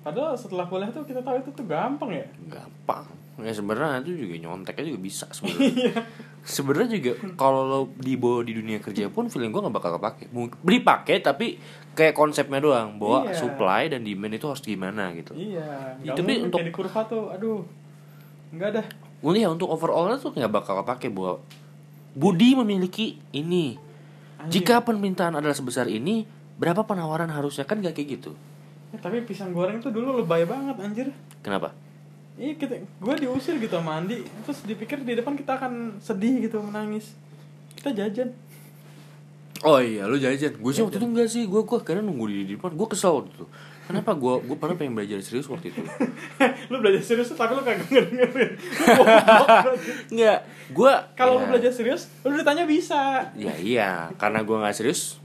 A: padahal setelah kuliah tuh kita tahu itu tuh gampang ya
B: gampang ya sebenarnya itu juga nyonteknya juga bisa
A: Iya.
B: sebenarnya sebenarnya juga kalau lo dibawa di dunia kerja pun feeling gue nggak bakal kepake Mung- beli pakai tapi kayak konsepnya doang bahwa
A: Iya.
B: supply dan demand itu harus gimana gitu
A: iya nggak
B: Iya, tapi
A: mungkin
B: untuk-
A: kayak di kurva tuh aduh nggak dah
B: Untuk ya untuk overallnya tuh nggak bakal kepake bahwa Budi memiliki ini
A: Anjing.
B: jika permintaan adalah sebesar ini berapa penawaran harusnya kan gak kayak gitu
A: Ya, tapi pisang goreng tuh dulu lebay banget anjir
B: kenapa
A: Iya kita, gue diusir gitu sama Andi Terus dipikir di depan kita akan sedih gitu menangis Kita jajan
B: Oh iya, lu jajan. Gue sih waktu itu enggak sih. Gue gue karena nunggu di depan. Gue kesel waktu itu. Kenapa gue gue pernah pengen belajar serius waktu itu?
A: Lu belajar serius tapi lu kagak ngedengerin Lu bodoh.
B: Enggak. Gue
A: Kalau lu
B: Iya.
A: belajar serius, lu ditanya bisa
B: Ya iya, karena gue nggak serius,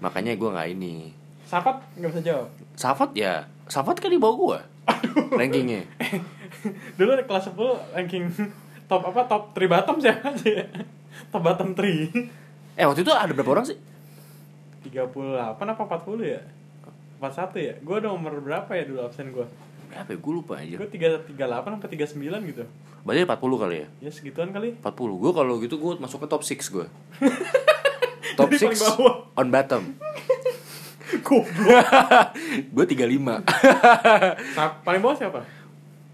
B: makanya gue nggak ini.
A: Sapat nggak bisa jawab
B: Safat ya, Safat kan di bawah gue. Rankingnya.
A: Dulu di kelas 10 ranking top apa top 3 bottom siapa aja ya? Top bottom 3
B: Eh waktu itu ada berapa orang sih?
A: 38 apa 40 ya? 41 ya? Gue nomor berapa ya dulu absen gue?
B: Berapa? ya? Gue lupa aja.
A: Gue 38 apa 39 gitu
B: Berarti 40 kali ya?
A: Ya segituan kali
B: 40. Gue kalau gitu gue masuk ke top 6 gue. top
A: Jadi
B: 6
A: paling bawah.
B: on bottom.
A: Goblok.
B: gue 35.
A: Sa- paling bawah siapa?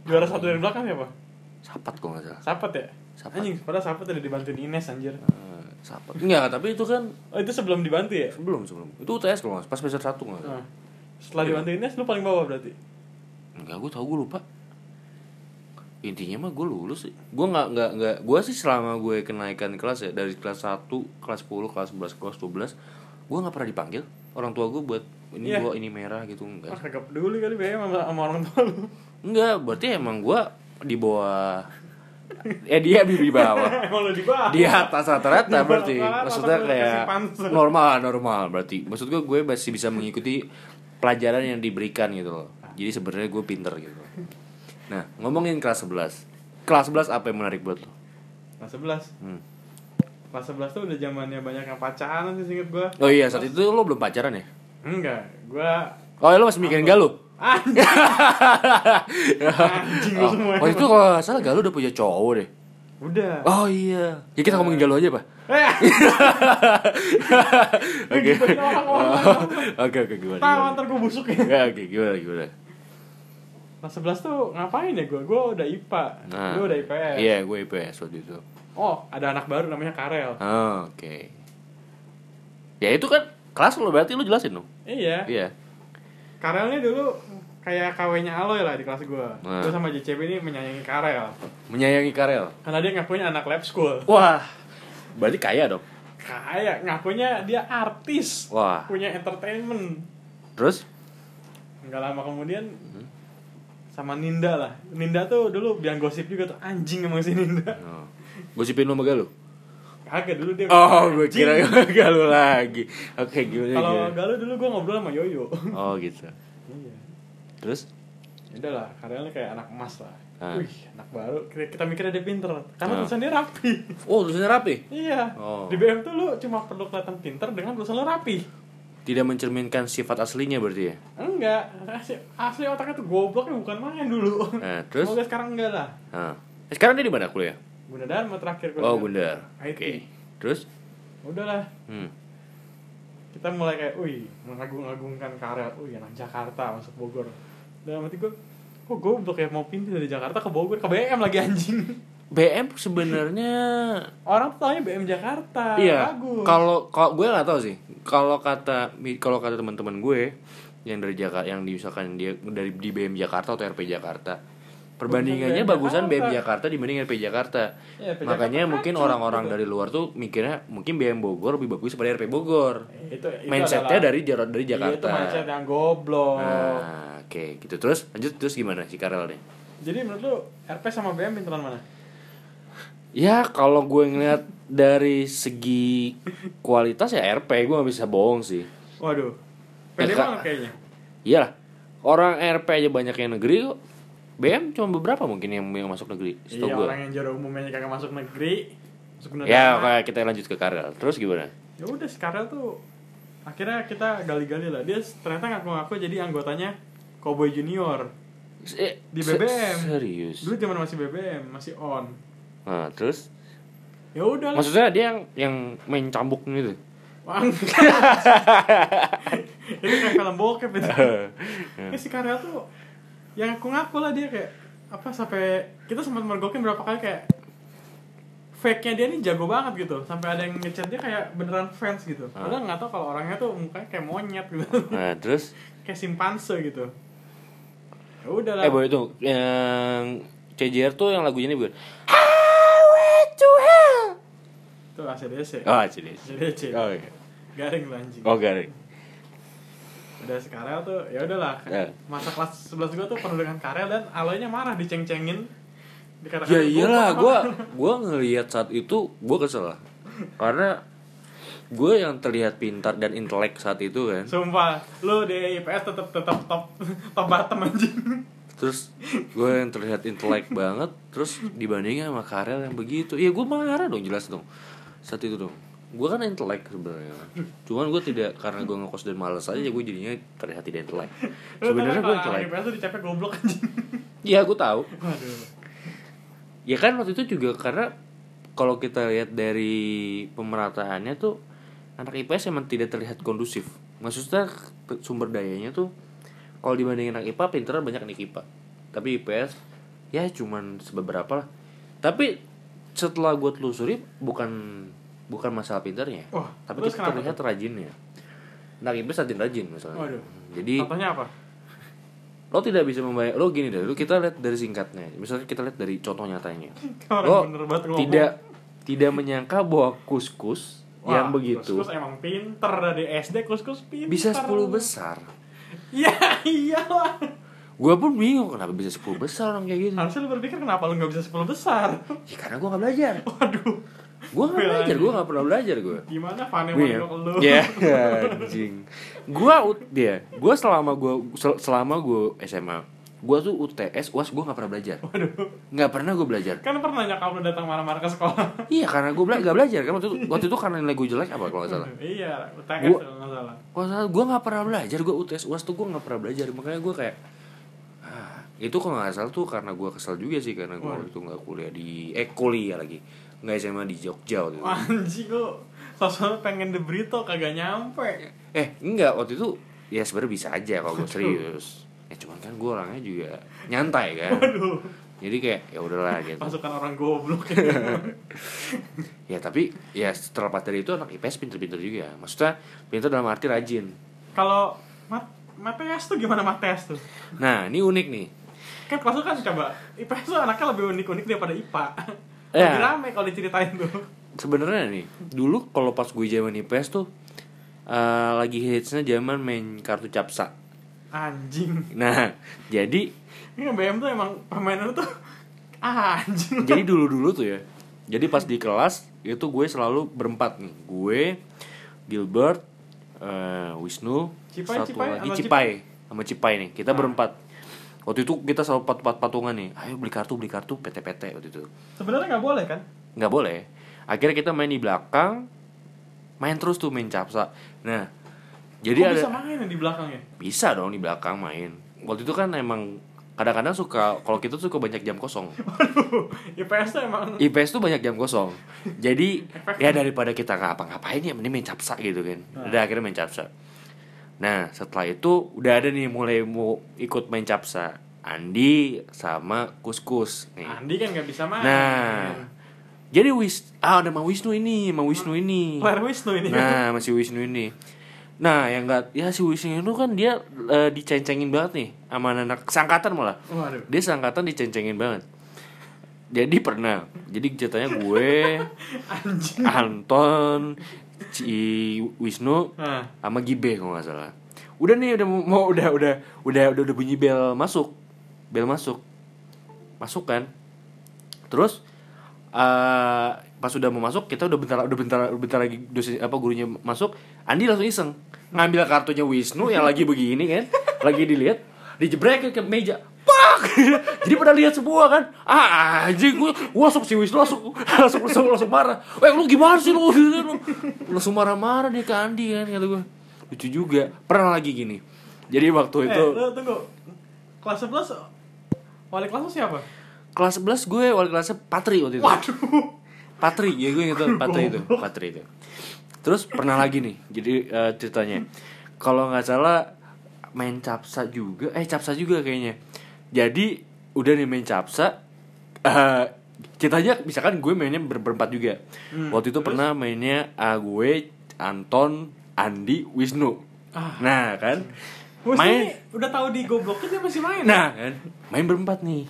A: Juara satu dari belakang siapa?
B: Safat kok nggak salah.
A: Sapat ya?
B: Sapat.
A: Anjing, padahal Sapat udah dibantuin Ines anjir
B: Eh, Safat. Enggak, tapi itu kan
A: Oh itu sebelum dibantu ya?
B: sebelum sebelum itu UTS kalau nggak salah, pas semester satu nggak salah.
A: Nah, setelah
B: Iya.
A: dibantu Ines lu paling bawah berarti?
B: Enggak, gue tau gue lupa. Intinya mah gue lulus sih. Gue nggak nggak nggak. Gue sih selama gue kenaikan kelas ya dari kelas 1, kelas 10, kelas 11, kelas 12 gue nggak pernah dipanggil orang tua gue buat ini
A: Iya.
B: gua ini merah gitu
A: Wah
B: enggak.
A: kagak peduli kali BM sama, sama orang tua lu
B: Enggak, berarti emang gue di bawah eh dia di di bawah
A: Emang lu di bawah?
B: di ah, atas rata-rata
A: Di
B: berarti
A: bawah
B: maksudnya
A: rata-rata,
B: kayak
A: kasih pansus.
B: normal normal berarti maksud gue gue masih bisa mengikuti pelajaran yang diberikan gitu loh jadi sebenarnya gue pinter gitu nah ngomongin kelas 11 kelas 11 apa yang menarik buat lo
A: Kelas 11
B: Hmm.
A: Kelas 11 tuh udah zamannya banyak yang pacaran sih singkat gua
B: oh iya saat itu lo belum pacaran ya
A: Enggak, gua
B: oh lo masih mikirin galuh
A: Anjing Anjing lu
B: Oh,
A: semua
B: waktu itu kalau nggak salah galuh udah punya cowok deh
A: Udah
B: oh iya ya kita ngomongin galuh aja pak
A: Eh,
B: oke
A: gitu, orang-orang.
B: oke oke gimana
A: tahu
B: gimana
A: ntar gua busuk ya
B: Ya, oke gimana gimana
A: Kelas 11 tuh ngapain ya gua? Gua udah IPA
B: nah
A: Gua udah IPS
B: iya gue IPS waktu itu
A: Oh, ada anak baru namanya Karel.
B: Ah, Oke. Ya itu kan kelas lo berarti lo jelasin dong.
A: Iya.
B: Iya.
A: Karelnya dulu kayak KW-nya Aloy lah di kelas gua.
B: Nah.
A: Gua sama JCB ini menyayangi Karel.
B: Menyayangi Karel.
A: Karena dia ngakunya anak lab school.
B: Wah. Berarti kaya dong.
A: Kayak ngakunya dia artis.
B: Wah.
A: Punya entertainment.
B: Terus?
A: Nggak lama kemudian
B: Hmm.
A: sama Ninda lah. Ninda tuh dulu biang gosip juga tuh anjing emang si Ninda.
B: Oh. Gosipin lo sama Galuh?
A: Kagak dulu dia.
B: Oh, gue
A: anjing.
B: kira Iya, sama Galuh lagi. Oke, gimana
A: Kalau
B: gimana?
A: Galuh dulu gua ngobrol sama Yoyo.
B: Oh, gitu.
A: Iya.
B: Terus?
A: Udah lah, Karelnya kayak anak emas lah.
B: Ah.
A: Wih, anak baru. Kita, kita mikirnya dia pinter. Karena
B: Ah.
A: tulisannya rapi.
B: Oh, tulisannya rapi.
A: iya.
B: Oh.
A: Di BM tuh lu cuma perlu kelihatan pinter dengan tulisan lu rapi.
B: Tidak mencerminkan sifat aslinya berarti ya.
A: Enggak. Asli, asli otaknya tuh gobloknya bukan main dulu.
B: Eh, terus?
A: Semoga sekarang enggak lah.
B: Nah. Sekarang dia di mana kuliah?
A: Bunda Dharma terakhir
B: Oh, Gundar.
A: IT.
B: Oke. Terus?
A: Udahlah.
B: Hmm.
A: Kita mulai kayak, wih, mengagung-agungkan Karel. Wih, anak Jakarta masuk Bogor. Dalam hati gue, kok goblok ya mau pindah dari Jakarta ke Bogor, ke BM lagi anjing.
B: BM sebenarnya
A: Orang tuh taunya BM Jakarta.
B: Iya.
A: Bagus.
B: Kalau kalau gue nggak tahu sih. Kalau kata kalau kata teman-teman gue yang dari Jakarta yang di- misalkan dia dari di BM Jakarta atau RP Jakarta. Perbandingannya
A: BM
B: bagusan BM
A: Jakarta.
B: Jakarta dibanding RP Jakarta.
A: Iya, RP Jakarta
B: Makanya mungkin
A: kacau,
B: orang-orang
A: gitu.
B: dari luar tuh mikirnya mungkin BM Bogor lebih bagus daripada RP Bogor.
A: Iya, Eh, itu, itu
B: Mindsetnya
A: adalah-
B: dari Jar- dari
A: Iya, itu
B: Jakarta.
A: mindset yang goblok.
B: Nah, oke, gitu terus lanjut terus gimana si Karel nih?
A: Jadi menurut lu RP sama BM pinteran mana?
B: Ya kalau gue ngeliat dari segi kualitas ya RP gue gak bisa bohong sih
A: Waduh. Pede
B: Ya, Kak.
A: banget kayaknya.
B: iyalah orang RP aja banyak yang negeri kok BM cuma beberapa mungkin yang, yang masuk negeri setahu
A: Iya
B: gua.
A: orang yang jarak umumnya kagak masuk negeri. Masuk negeri.
B: ya oke, kita lanjut ke Karel terus gimana
A: ya udah sekarang tuh akhirnya kita gali-gali lah dia ternyata ngaku-ngaku jadi anggotanya Cowboy Junior
B: Se-
A: Di
B: eh, se-
A: BBM.
B: serius
A: dulu zaman masih BBM masih on
B: nah terus
A: ya udah lah
B: maksudnya dia yang yang main cambuk gitu
A: Wah, ini kayak film bokep itu
B: Iya.
A: ya si Karel tuh yang aku ngaku lah dia kayak apa sampai kita sempat mergokin berapa kali kayak fake-nya dia nih jago banget gitu sampai ada yang ngechat dia kayak beneran fans gitu
B: Ah.
A: padahal nggak tahu kalau orangnya tuh mukanya kayak monyet gitu
B: nah terus
A: kayak simpanse gitu ya udah lah
B: eh boy itu yang CJR tuh yang lagunya ini bukan Highway to Hell
A: itu ACDC
B: oh serius
A: ACDC
B: oh iya.
A: garing lu anjing
B: oh garing
A: udah sekarang tuh ya udahlah
B: Eh.
A: masa kelas 11 gua tuh penuh dengan Karel dan aloynya marah diceng-cengin Dikatakan,
B: ya iyalah
A: "Goblok
B: gue gue ngelihat saat itu gue kesel lah. karena gue yang terlihat pintar dan intelek saat itu kan
A: Sumpah, lu di IPS tetep tetep top top bottom anjing.
B: terus gue yang terlihat intelek banget terus dibandingin sama Karel yang begitu ya gue marah dong jelas dong saat itu dong gue kan intelek sebenarnya cuman gue tidak karena gue ngekos dan malas aja gue jadinya terlihat tidak intelek
A: Lu tau
B: sebenarnya
A: kan kalau
B: gue
A: anak
B: intelek
A: IPS tuh dicepet goblok anjing.
B: iya gue tahu
A: Waduh.
B: Ya kan waktu itu juga karena kalau kita lihat dari pemerataannya tuh anak IPS emang tidak terlihat kondusif. Maksudnya ke- sumber dayanya tuh kalau dibandingin anak IPA pinternya banyak anak IPA. Tapi IPS ya cuman sebeberapa lah. Tapi setelah gue telusuri bukan bukan masalah pinternya,
A: Wah, Oh,
B: tapi
A: terus
B: kita
A: kenapa
B: terlihat rajinnya. Anak IPS rajin rajin misalnya.
A: Waduh.
B: Jadi
A: Contohnya apa?
B: lo tidak bisa membayar lo gini deh lo kita lihat dari singkatnya misalnya kita lihat dari contoh nyatanya
A: Orang
B: lo
A: bener banget ngomong.
B: Oh, tidak tidak menyangka bahwa kus-kus
A: Wah,
B: yang begitu
A: Kus-kus emang pinter dari SD kus-kus pinter.
B: bisa 10 besar
A: Iya, iyalah.
B: gue pun bingung kenapa bisa 10 besar orang kayak gitu
A: Harusnya lu berpikir kenapa lu nggak bisa 10 besar.
B: ya karena gue gak belajar
A: Waduh.
B: gue gak belajar gue gak pernah belajar gue
A: Gimana Fane mau
B: Iya,
A: nengok lu?
B: Iya, anjing. Gua ut dia, gua selama gua sel- selama gua SMA, gua tuh UTS, UAS gua nggak pernah belajar.
A: Waduh.
B: Nggak pernah gua belajar.
A: Kan pernah nyokap lu datang marah-marah ke sekolah.
B: Iya, karena gua bela- nggak belajar. Kan waktu itu, waktu itu karena nilai gua jelek apa kalau nggak salah.
A: iya, UTS
B: Gua-
A: kalau nggak salah.
B: Kalau salah gue nggak pernah belajar, gue UTS UAS tuh gue nggak pernah belajar, makanya gue kayak ah, itu kalau nggak salah tuh karena gue kesal juga sih karena gue waktu itu nggak kuliah di eh kuliah lagi nggak SMA di Jogja waktu itu.
A: Anjing lu sosok pengen di Brito kagak nyampe.
B: Eh enggak waktu itu ya sebenarnya bisa aja kalau gue serius. Ya cuman kan gue orangnya juga nyantai kan.
A: Waduh.
B: Jadi kayak ya udahlah gitu.
A: Pasukan orang goblok.
B: Ya tapi ya terlepas dari itu anak IPS pinter-pinter juga. Maksudnya pinter dalam arti rajin.
A: Kalau mat MTS tuh gimana MTS tuh?
B: Nah ini unik nih.
A: Kan kelas lu kan coba IPS tuh anaknya lebih unik-unik daripada IPA.
B: Ya.
A: Lebih rame kalau diceritain tuh.
B: sebenarnya nih dulu kalau pas gue zaman IPS tuh eh, lagi hitsnya zaman main kartu capsa
A: Anjing.
B: nah jadi
A: Ini BM tuh emang permainan tuh ah, anjing.
B: jadi dulu dulu tuh ya jadi pas di kelas itu gue selalu berempat nih gue Gilbert eh, Wisnu
A: Cipai,
B: satu
A: Cipai, Ah.
B: lagi
A: sama
B: Cipai sama Cipai nih kita berempat waktu itu kita selalu pat pat patungan nih ayo beli kartu beli kartu PT PT waktu itu
A: Sebenarnya nggak boleh kan?
B: nggak boleh akhirnya kita main di belakang main terus tuh main capsa nah
A: Kok
B: jadi ada
A: bisa main di belakang ya?
B: bisa dong di belakang main waktu itu kan emang kadang-kadang suka kalau kita tuh suka banyak jam kosong
A: Waduh, IPS tuh emang
B: IPS tuh banyak jam kosong jadi ya daripada kita ngapa-ngapain ya mending main capsa gitu kan udah akhirnya main capsa nah setelah itu udah ada nih mulai mau ikut main capsa Andi sama Kuskus nih
A: Andi kan nggak bisa main.
B: Nah, jadi Wis ah ada Mang Wisnu ini, Mang Wisnu ini.
A: Player Wisnu ini.
B: Nah, masih Wisnu ini. Nah, yang enggak ya si Wisnu itu kan dia eh, dicencengin banget nih sama anak sangkatan malah.
A: Waduh.
B: Dia sangkatan dicencengin banget. Jadi pernah. Jadi ceritanya gue,
A: Anjing.
B: Anton, si Wisnu
A: Nah,
B: sama Gibe kalau nggak salah. Udah nih udah mau udah udah udah udah, udah bunyi bel masuk. Bel masuk. Masuk kan? Terus eh pas sudah mau masuk kita udah bentar udah bentar bentar lagi dosen apa gurunya masuk Andi langsung iseng ngambil kartunya Wisnu yang lagi begini kan lagi dilihat dijebrekin ke meja pak jadi pada lihat semua kan ah anjing gua gua langsung si Wisnu langsung langsung langsung, langsung marah eh lu gimana sih lu langsung marah-marah dia ke Andi kan kata gua lucu juga pernah lagi gini jadi
A: Eh,
B: waktu itu
A: lu tunggu. Kelas 11 wali kelas lu siapa?
B: kelas 11 gue wali kelasnya Patri waktu itu
A: Waduh.
B: Patri ya gue inget tuh, Patri itu Patri itu terus pernah lagi nih jadi eh, ceritanya kalau nggak salah main capsa juga eh capsa juga kayaknya jadi udah nih main capsa eh ceritanya misalkan gue mainnya ber- berempat juga
A: Hmm,
B: waktu itu pernah mainnya ah, gue Anton Andi Wisnu nah kan
A: Ah. Wisnu ini udah tahu di goblokin dia masih main.
B: Nah kan Main berempat nih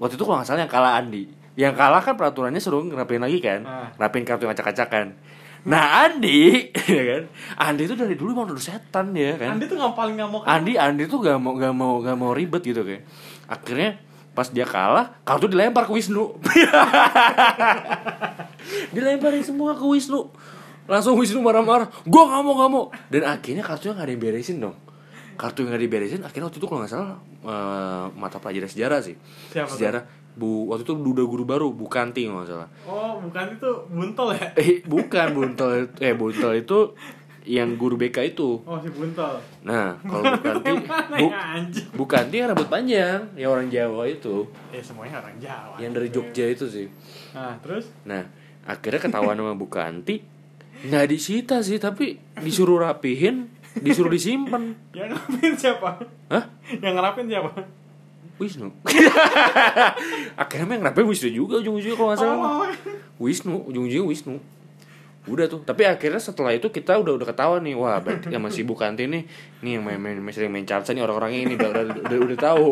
B: Waktu itu kalau nggak salah yang kalah Andi Yang kalah kan peraturannya suruh ngerapin lagi kan
A: Ah.
B: Ngerapin kartu yang acak-acakan Nah Andi ya kan Andi itu dari dulu mau udah setan ya kan
A: Andi tuh nggak paling nggak mau
B: Andi Andi tuh gak mau gak mau gak mau ribet gitu kayak. Akhirnya pas dia kalah, kartu dilempar ke Wisnu. Dilemparin semua ke Wisnu. Langsung Wisnu marah-marah, gue gak mau gak mau. Dan akhirnya kartunya gak ada yang beresin dong. Kartu yang gak diberesin, akhirnya waktu itu kalau gak salah eh, mata pelajaran sejarah sih.
A: Siapa tuh?
B: sejarah. Bu, waktu itu duda guru baru, Bu Kanti kalau nggak salah.
A: Oh, bukan itu buntel ya?
B: Eh, bukan Buntel, eh Buntel itu yang guru BK itu.
A: Oh, si buntel.
B: Nah, kalau Bu Kanti,
A: Yang mana
B: Bu,
A: ya, anjing?
B: Bukan dia rambut panjang, ya orang Jawa itu,
A: Ya semuanya orang Jawa.
B: yang dari Jogja itu sih.
A: Nah, terus
B: Nah, akhirnya ketahuan sama Bu Kanti, nggak disita sih, tapi disuruh rapihin, disuruh disimpan.
A: yang ngerapin siapa?
B: Hah?
A: Yang ngerapin siapa?
B: Wisnu. akhirnya yang rapihin Wisnu juga ujung-ujungnya kalau nggak salah. mah.
A: Oh,
B: Wisnu, ujung-ujungnya Wisnu. Udah tuh, tapi akhirnya setelah itu kita udah udah ketawa nih, wah berarti sama si Bu Kanti nih, nih yang main-main main- sering main capsa nih orang-orangnya ini udah udah udah, udah tahu,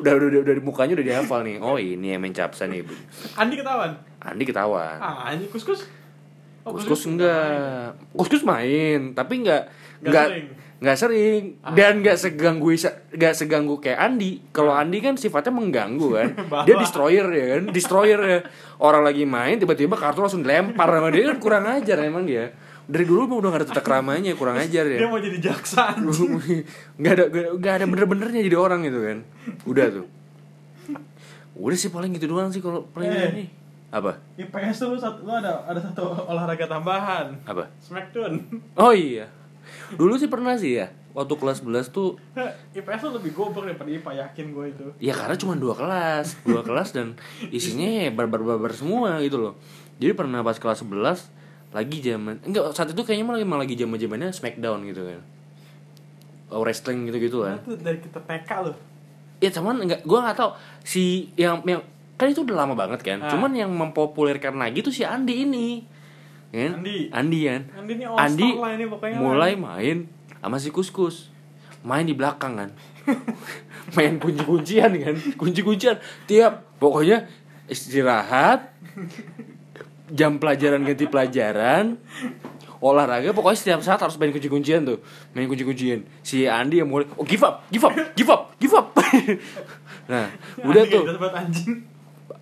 B: udah udah udah, udah mukanya udah dihafal nih. Oh ini yang main capsa nih, Bu.
A: Andi ketahuan.
B: Andi ketahuan.
A: Ah, anjing kus-kus. Oh,
B: Kuskus enggak. Kuskus main, tapi enggak
A: Enggak
B: enggak
A: sering. Ah.
B: enggak sering dan enggak seganggu enggak seganggu kayak Andi. Kalau Andi kan sifatnya mengganggu kan.
A: Ah.
B: dia
A: Bawa.
B: destroyer ya kan, destroyer ya. Orang lagi main tiba-tiba kartu langsung dilempar sama dia kan kurang ajar emang dia. Dari dulu emang udah gak ada tata keramanya, kurang ajar ya.
A: Dia mau jadi jaksa anjing.
B: nggak ada nggak ada bener-benernya jadi orang gitu kan. Udah tuh. Udah sih paling gitu doang sih kalau paling
A: Eh.
B: ini. Apa?
A: IPS tuh lu, satu, lu ada ada satu olahraga tambahan.
B: Apa?
A: Smackdown.
B: Oh iya. Dulu sih pernah sih ya. Waktu kelas 11 tuh
A: IPS tuh lebih goblok daripada IPA yakin gue itu.
B: ya karena cuma dua kelas, dua kelas dan isinya ya barbar-barbar semua gitu loh. Jadi pernah pas kelas 11 lagi zaman enggak saat itu kayaknya malah, malah lagi zaman-zamannya Smackdown gitu kan. Oh, wrestling gitu-gitu kan.
A: Itu dari kita TK loh.
B: Ya cuman enggak gua nggak tahu si yang, yang kan itu udah lama banget kan.
A: Ah.
B: Cuman yang mempopulerkan lagi tuh si Andi ini. Kan?
A: Andi.
B: Andi kan.
A: Andi ini all star
B: Andi
A: lah ini pokoknya. kan.
B: mulai main sama si kuskus main di belakang kan main kunci kuncian kan kunci kuncian tiap pokoknya istirahat jam pelajaran ganti pelajaran olahraga pokoknya setiap saat harus main kunci kuncian tuh main kunci kuncian si Andi yang mulai oh give up give up give up give up nah udah
A: Andi
B: tuh
A: kayak gitu banget, anjing.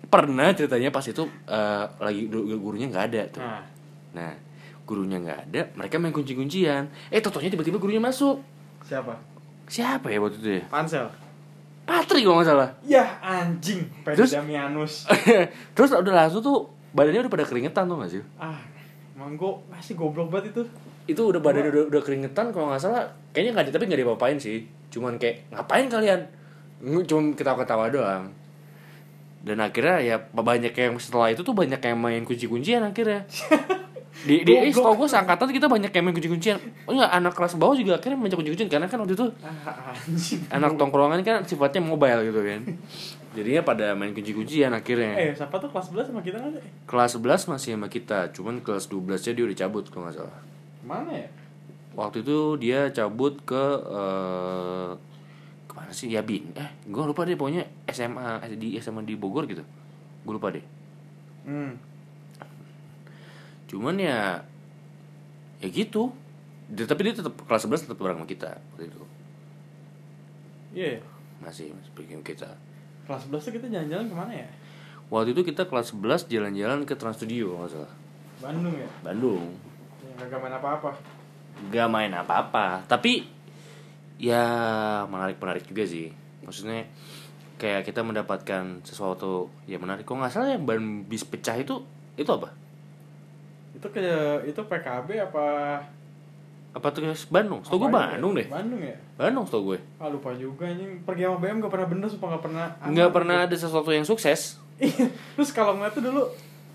B: pernah ceritanya pas itu eh, lagi gu- gurunya nggak ada tuh
A: Nah,
B: Nah, gurunya nggak ada, mereka main kunci-kuncian. Eh, totonya tiba-tiba gurunya masuk.
A: siapa?
B: Siapa ya waktu itu ya?
A: Pansel.
B: Patri kalau nggak salah.
A: Yah Ya, anjing, Pedro
B: Terus?
A: Damianus.
B: Terus udah langsung tuh badannya udah pada keringetan tuh nggak sih?
A: Ah, manggo masih goblok banget itu.
B: Itu udah badannya udah, udah keringetan kalau nggak salah. Kayaknya nggak ada tapi nggak diapa-apain sih. Cuman kayak ngapain kalian? Nge- Cuma ketawa-ketawa doang. Dan akhirnya ya banyak yang setelah itu tuh banyak yang main kunci-kuncian akhirnya. Di, di eh, setahu gue seangkatan kita banyak yang main kunci-kuncian. Oh enggak, anak kelas bawah juga akhirnya main kunci-kuncian karena kan waktu itu
A: Ah, anjing.
B: anak tongkrongan kan sifatnya mobile gitu kan jadinya pada main kunci-kuncian akhirnya
A: Eh, siapa tuh kelas 11 sama kita kan?
B: kelas 11 masih sama kita cuman kelas 12 nya dia udah cabut kalau nggak salah
A: Mana ya?
B: waktu itu dia cabut ke eh, kemana sih ya bin eh gue lupa deh pokoknya SMA eh, di SMA di Bogor gitu gue lupa deh
A: Hmm.
B: cuman ya ya gitu Dia- tapi dia tetap kelas 11 tetap bareng sama kita waktu itu
A: Iya. ya. Iya,
B: masih masih pergi sama kita
A: Kelas 11 tuh kita jalan-jalan kemana ya?
B: waktu itu kita kelas 11 jalan-jalan ke Trans Studio kalau nggak salah
A: Bandung ya?
B: Bandung
A: Ya, Gak main apa-apa.
B: gak main apa-apa tapi ya menarik menarik juga sih maksudnya kayak kita mendapatkan sesuatu yang menarik kok nggak salah yang ban bis pecah itu itu apa
A: Itu ke itu PKB apa?
B: apa tuh guys? Bandung setahu gue
A: apa aja?
B: Bandung deh
A: Bandung ya.
B: Bandung setahu gue
A: Ah lupa juga anjing. Pergi sama BM gak pernah bener sumpah gak pernah. aman.
B: nggak pernah ada sesuatu yang sukses
A: Iya. Terus kalau ngeliat tuh dulu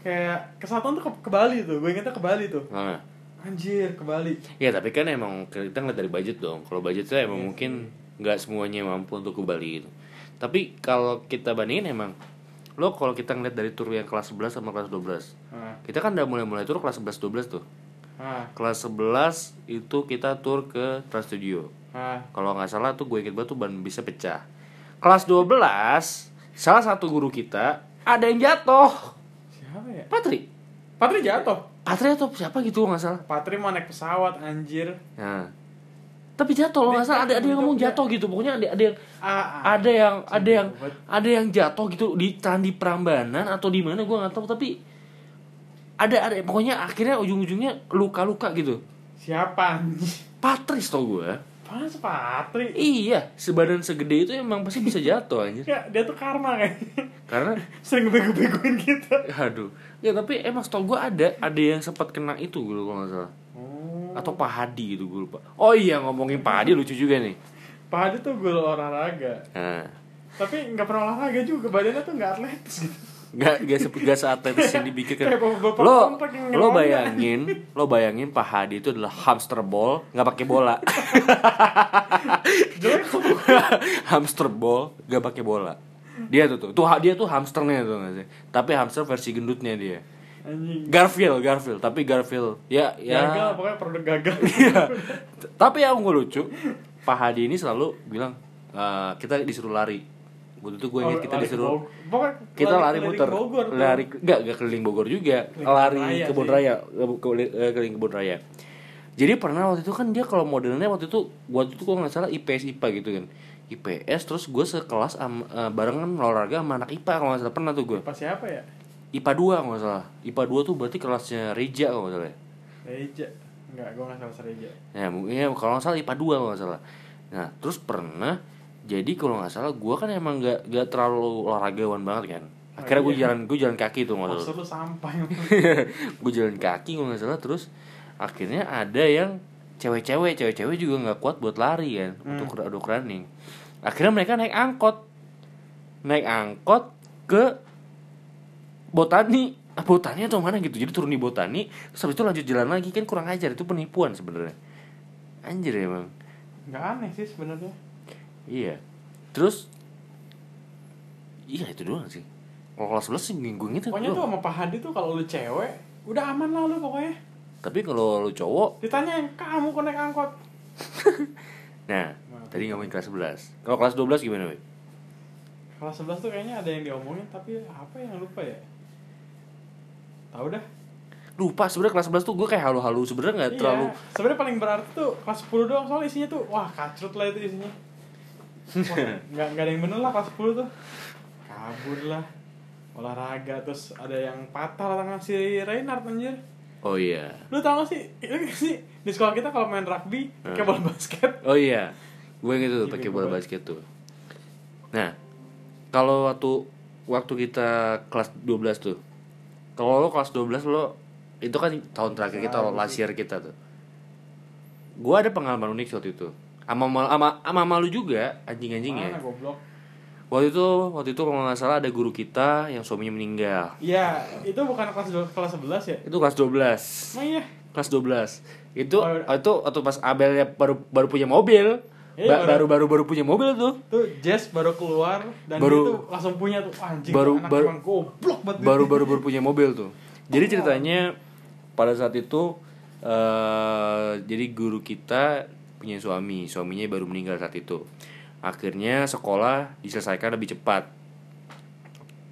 A: kayak kesatuan tuh ke, ke Bali tuh. Gue ingetnya ke Bali tuh.
B: nah.
A: Anjir, ke Bali.
B: ya tapi kan emang kita ngeliat dari budget dong kalau budget
A: Iya
B: tuh emang mungkin nggak semuanya mampu untuk ke Bali gitu tapi kalau kita bandingin emang lo kalau kita ngeliat dari tur yang kelas 11 sama kelas 12
A: Ah.
B: Kita kan udah mulai-mulai tur kelas 11 12 tuh.
A: Ah.
B: Kelas 11 itu kita tur ke Trans Studio.
A: Ah.
B: Kalau nggak salah tuh gue inget banget tuh ban bisa pecah. Kelas 12 salah satu guru kita ada yang jatuh.
A: Siapa ya?
B: Patri.
A: Patri jatuh.
B: Patri atau siapa gitu nggak salah.
A: Patri mau naik pesawat anjir.
B: Nah. Tapi jatuh loh nggak salah ada ada yang ngomong jatuh gitu. Pokoknya ada ada yang
A: Ah, ah.
B: ada yang ada yang ada yang jatuh gitu di candi Prambanan atau di mana gue nggak tahu tapi ada ada pokoknya akhirnya ujung-ujungnya luka-luka gitu.
A: Siapa anjir?
B: Patris tau gue
A: Pas Patri.
B: Iya Sebadan segede itu emang pasti bisa jatuh anjir
A: Ya, dia tuh karma kayaknya.
B: Karena
A: Sering bego-begoin kita.
B: Aduh Ya tapi emang setau gue ada Ada yang sempat kena itu gue lupa, kalau nggak salah
A: Oh.
B: Atau Pak Hadi gitu gue lupa Oh iya ngomongin Pak Hadi lucu juga nih
A: Pak Hadi tuh gue olahraga.
B: nah,
A: Tapi nggak pernah olahraga juga, badannya tuh nggak atletis gitu.
B: Gak, gak, se- gak seatletis yang dipikirkan
A: Kayak bapak-bapak
B: Lo,
A: kompak yang
B: lo
A: ngeronda.
B: bayangin Lo bayangin Pak Hadi itu adalah hamster ball Gak pakai bola
A: Jelek kok.
B: hamster ball gak pakai bola dia tuh tuh tuh ha- dia tuh hamsternya tuh nggak sih tapi hamster versi gendutnya dia
A: Anjing.
B: Garfield Garfield tapi Garfield ya
A: Gagal,
B: ya
A: pokoknya produk gagal.
B: tapi yang gue lucu Pak Hadi ini selalu bilang "Eh, kita disuruh lari waktu itu gue inget kita
A: Oh, Lari ke
B: disuruh
A: Bogor. Pokoknya
B: kita lari, muter
A: keliling Bogor tuh.
B: lari nggak nggak keliling Bogor juga
A: Keliling
B: lari
A: kebun raya
B: kebun
A: sih.
B: raya ke- ke- eh, keliling kebun raya jadi pernah waktu itu kan dia kalau modelnya waktu itu waktu itu gua nggak salah IPS IPA gitu kan IPS terus gue sekelas am, eh, barengan olahraga sama anak IPA kalau nggak salah pernah tuh gue
A: Pas siapa ya?
B: IPA 2 kalau nggak salah IPA 2 tuh berarti kelasnya Reja kalau nggak salah ya.
A: Reja. Enggak, gue nggak salah Reja.
B: Ya mungkin ya, kalau nggak salah IPA 2 kalau nggak salah. Nah terus pernah jadi kalau nggak salah gue kan emang nggak nggak terlalu olahragawan banget kan. Akhirnya gue
A: iya.
B: jalan gue jalan kaki tuh nggak salah.
A: Maksud lu sampah
B: gue jalan kaki kalau nggak salah terus akhirnya ada yang cewek-cewek cewek-cewek juga nggak kuat buat lari kan
A: Hmm.
B: untuk untuk running. Akhirnya mereka naik angkot naik angkot ke botani Ah, botani atau mana gitu jadi turun di botani terus habis itu lanjut jalan lagi kan kurang ajar itu penipuan sebenarnya anjir ya bang
A: Enggak aneh sih sebenarnya.
B: Iya. Terus Iya itu doang sih. Kalau kelas 11 sih minggu itu
A: Pokoknya tuh
B: doang.
A: sama Pak Hadi tuh kalau lu cewek, udah aman lah lu pokoknya.
B: Tapi kalau lu cowok,
A: Ditanyain, kamu kok naik angkot?
B: nah,
A: Maaf.
B: tadi ngomongin kelas 11. Kalau kelas 12 gimana, Wei?
A: Kelas 11 tuh kayaknya ada yang diomongin, tapi apa yang lupa ya? Tahu dah.
B: Lupa sebenarnya kelas 11 tuh gue kayak halu-halu sebenarnya nggak
A: Iya.
B: terlalu
A: Sebenarnya paling berarti tuh kelas 10 doang soal isinya tuh wah kacrut lah itu isinya. Wah, nggak nggak ada yang bener lah kelas 10 tuh. Kabur lah. Olahraga terus ada yang patah lah tangan si Reinhardt anjir.
B: Oh iya.
A: Lu tau gak sih? Lu nggak sih di sekolah kita kalau main rugby
B: Hmm.
A: kayak bola basket.
B: Oh iya. Gue
A: Iya,
B: gitu pakai
A: bego
B: bola
A: banget.
B: basket tuh. Nah, kalau waktu waktu kita kelas 12 tuh. Kalau lo kelas 12 lo itu kan tahun terakhir kita
A: Iya,
B: lo last year kita tuh. Gue ada pengalaman unik waktu itu. Ama ama ama malu juga
A: Mana
B: anjing-anjingnya.
A: goblok?
B: Waktu itu waktu itu kalau nggak salah ada guru kita yang suaminya meninggal.
A: Iya, itu bukan kelas dua- kelas 11 ya?
B: Itu kelas 12.
A: Emang iya.
B: Kelas 12. Itu
A: Oh, iya.
B: itu waktu pas Abelnya baru baru punya mobil.
A: Iya, baru-
B: Ba- baru baru baru punya mobil tuh.
A: Tuh Jess baru keluar dan
B: Baru-
A: dia tuh langsung punya tuh Wah, anjing
B: baru-
A: tuh anak
B: baru-
A: emang goblok banget.
B: baru baru baru punya mobil tuh jadi ceritanya pada saat itu eh jadi guru kita punya suami suaminya baru meninggal saat itu akhirnya sekolah diselesaikan lebih cepat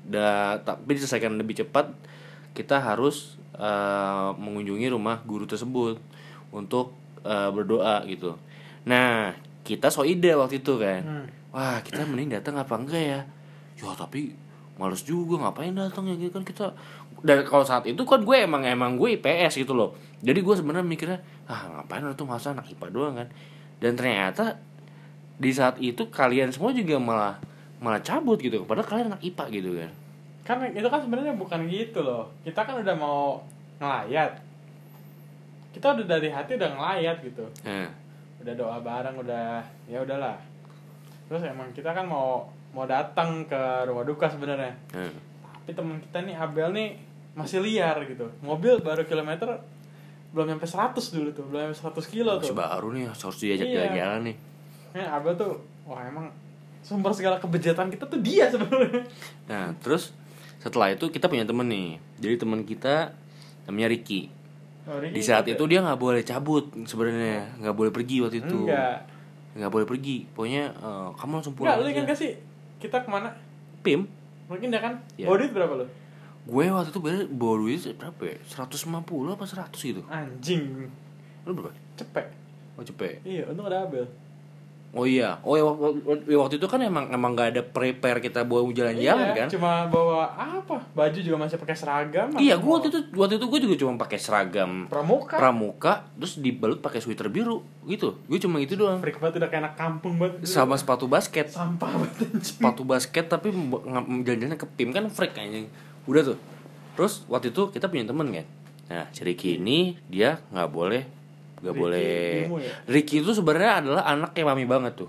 B: da, tapi diselesaikan lebih cepat kita harus eh, mengunjungi rumah guru tersebut untuk eh, berdoa gitu nah kita soide waktu itu kan
A: Hmm.
B: wah kita mending datang apa enggak ya ya tapi males juga ngapain datang ya gitu kan kita dan kalau saat itu kan gue emang emang gue IPS gitu loh jadi gue sebenarnya mikirnya ah ngapain tuh masa anak IPA doang kan dan ternyata di saat itu kalian semua juga malah malah cabut gitu padahal kalian anak IPA gitu kan
A: kan itu kan sebenarnya bukan gitu loh kita kan udah mau ngelayat kita udah dari hati udah ngelayat gitu
B: Eh,
A: udah doa bareng udah ya udahlah terus emang kita kan mau mau datang ke rumah duka sebenarnya
B: eh.
A: tapi teman kita nih Abel nih masih liar gitu mobil baru kilometer belum nyampe 100 dulu tuh belum nyampe 100 kilo
B: Masih
A: tuh
B: baru nih harus diajak
A: Iya.
B: jalan-jalan nih
A: Nah, Abel tuh wah emang sumber segala kebejatan kita tuh dia sebenarnya
B: Nah, terus setelah itu kita punya temen nih. Jadi temen kita namanya Ricky.
A: Oh, Ricky
B: Di saat
A: gitu.
B: itu dia nggak boleh cabut sebenarnya, nggak boleh pergi waktu itu.
A: enggak
B: Nggak boleh pergi. Pokoknya eh, kamu langsung
A: enggak
B: pulang.
A: lu ingat
B: aja.
A: gak sih kita kemana
B: Pim,
A: mungkin ya kan
B: Iya.
A: bawa duit berapa lu
B: gue waktu itu bener bawa duit berapa ya? 150 apa 100 gitu.
A: anjing
B: Lu berapa?
A: cepet
B: Oh cepet.
A: iya untung ada Abel
B: Oh iya, oh ya wak- wak- waktu itu kan emang emang nggak ada prepare kita buat jalan-jalan
A: Iya,
B: kan?
A: cuma bawa apa baju juga masih pakai seragam apa?
B: Iya, gue waktu itu waktu itu gue juga cuma pakai seragam
A: pramuka
B: pramuka terus dibalut pakai sweater biru gitu gue cuma itu doang
A: freak banget udah kayak anak kampung banget
B: sama sepatu basket
A: sampah banget anjing.
B: sepatu basket tapi mb- ng- jalan-jalan ke pim kan freak kayaknya udah tuh terus waktu itu kita punya temen kan nah si Ricky ini dia nggak boleh nggak
A: Ricky
B: boleh
A: Bimo ya?
B: Ricky itu sebenarnya adalah anak yang mami banget tuh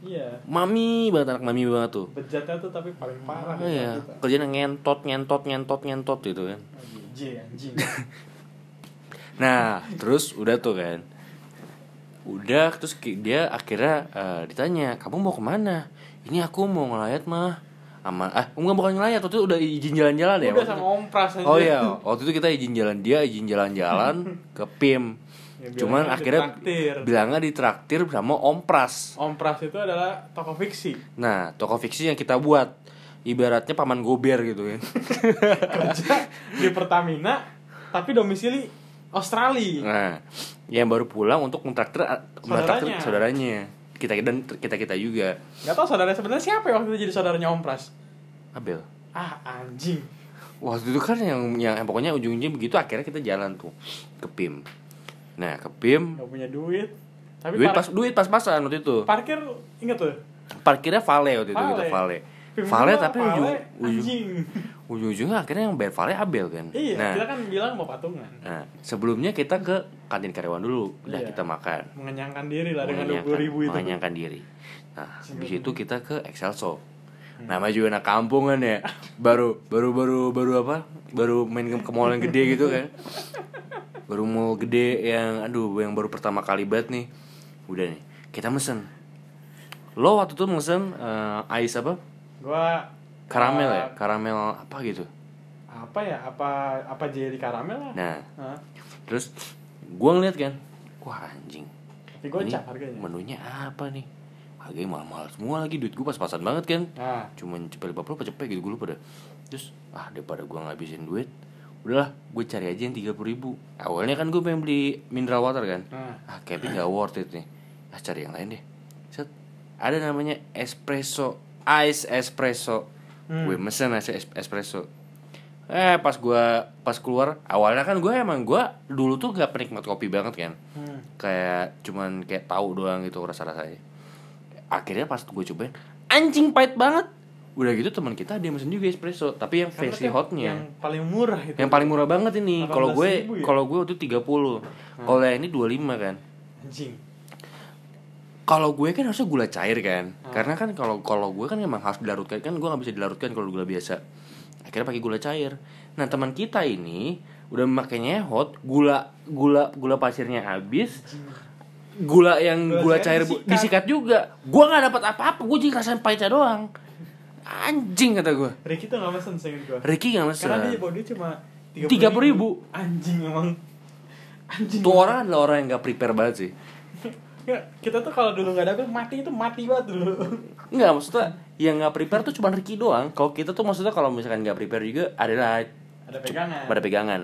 A: iya
B: mami banget anak mami banget tuh
A: bejatnya tuh tapi paling parah
B: Oh iya,
A: kita.
B: kerjanya ngentot, ngentot, ngentot, ngentot gitu kan
A: Anjing, jing, anjing
B: Nah, terus udah tuh kan. Udah, terus ki- dia akhirnya eh, ditanya, kamu mau kemana? Ini aku mau ngelayat mah. Aman, ah, enggak bukan ngelayat, waktu itu udah izin jalan-jalan ya.
A: udah
B: waktu
A: sama
B: itu.
A: om pras aja
B: Oh iya, waktu itu kita izin jalan dia, izin jalan-jalan ke PIM.
A: Ya, bilangnya
B: Cuman akhirnya
A: ditraktir.
B: bilangnya ditraktir sama Om Pras.
A: om pras itu adalah tokoh fiksi
B: Nah, toko fiksi yang kita buat ibaratnya paman gober gitu kan.
A: kerja di pertamina tapi domisili australia
B: Nah, yang baru pulang untuk mentraktir ah, mentraktir
A: Saudaranya.
B: saudaranya. Kita dan kita kita juga.
A: Gak tau saudara sebenarnya siapa ya waktu itu jadi saudaranya Om Pras.
B: Abel.
A: Ah anjing.
B: Waktu itu kan yang yang yang pokoknya ujung-ujungnya begitu akhirnya kita jalan tuh ke PIM. Nah, ke PIM
A: Gak punya duit. Tapi
B: duit
A: par-
B: pas duit pas-pasan waktu itu.
A: parkir inget tuh. ya,
B: Parkirnya Vale waktu itu kita Vale.
A: Pim
B: Vale
A: gua,
B: tapi
A: Vale,
B: ujung, ujung
A: anjing.
B: ujung-ujungnya akhirnya yang bayar Vale Abel kan.
A: Iya,
B: nah,
A: kita kan bilang mau patungan.
B: nah, sebelumnya kita ke kantin karyawan dulu, udah
A: Iya.
B: kita makan.
A: Mengenyangkan diri lah dengan
B: mengenyangkan,
A: 20 ribu itu. gitu.
B: mengenyangkan diri. Nah, habis
A: Sebelum-
B: itu kita ke Excelso.
A: Hmm.
B: Namanya juga anak kampungan ya. Baru baru baru baru apa? Baru main ke, ke mall yang gede gitu kan. Baru mall gede yang aduh yang baru pertama kali banget nih. Udah nih, kita mesen. Lo waktu itu mesen eh, ais apa?
A: Gua
B: Karamel ya,
A: eh,
B: karamel apa gitu.
A: Apa ya? Apa apa jelly karamel lah.
B: Nah,
A: Hah?
B: terus gua ngeliat kan, wah anjing.
A: Tapi gocap harganya.
B: menunya apa nih? Harganya mahal-mahal semua lagi duit gue pas-pasan banget kan.
A: Nah,
B: cuman cepet lima puluh apa cepet gitu gue lupa dah terus ah daripada gue ngabisin duit udahlah gue cari aja yang tiga puluh ribu awalnya kan gue pengen beli mineral water kan
A: Hmm.
B: ah Kevin gak worth it nih ah cari yang lain deh set ada namanya espresso ice espresso
A: Hmm.
B: gue mesen ice es- espresso eh pas gue pas keluar awalnya kan gue emang gue dulu tuh gak penikmat kopi banget kan
A: hmm.
B: kayak cuman kayak tahu doang gitu rasa rasanya akhirnya pas gue cobain anjing pahit banget udah gitu teman kita dia mesen juga espresso tapi yang
A: Karena
B: versi
A: kan
B: hotnya
A: Yang
B: yang,
A: paling murah itu.
B: paling murah banget ini kalau gue
A: 18.000 ya?
B: kalau gue waktu 30 kalau yang ini 25 kan
A: anjing.
B: kalau gue kan harusnya gula cair kan
A: Hmm.
B: karena kan kalau kalau gue kan emang harus dilarutkan kan gue nggak bisa dilarutkan kalau gula biasa akhirnya pakai gula cair nah teman kita ini udah memakainya hot gula gula gula pasirnya habis gula yang
A: Gula
B: gula,
A: cair
B: cair bu-
A: disikat.
B: disikat. juga gue nggak dapat apa-apa gue jadi ngerasain pahitnya doang anjing kata gue
A: Ricky tuh gak mesen seinget gua.
B: Ricky nggak mesen
A: Karena dia bawa duit cuma
B: 30.000.
A: Anjing emang. Anjing.
B: tuh orang adalah orang yang nggak prepare banget sih
A: Ya, kita tuh kalau dulu nggak dapet mati itu mati banget dulu.
B: Nggak maksudnya yang nggak prepare tuh cuma Ricky doang kalau kita tuh maksudnya kalau misalkan nggak prepare juga adalah
A: Ada pegangan.
B: pada pegangan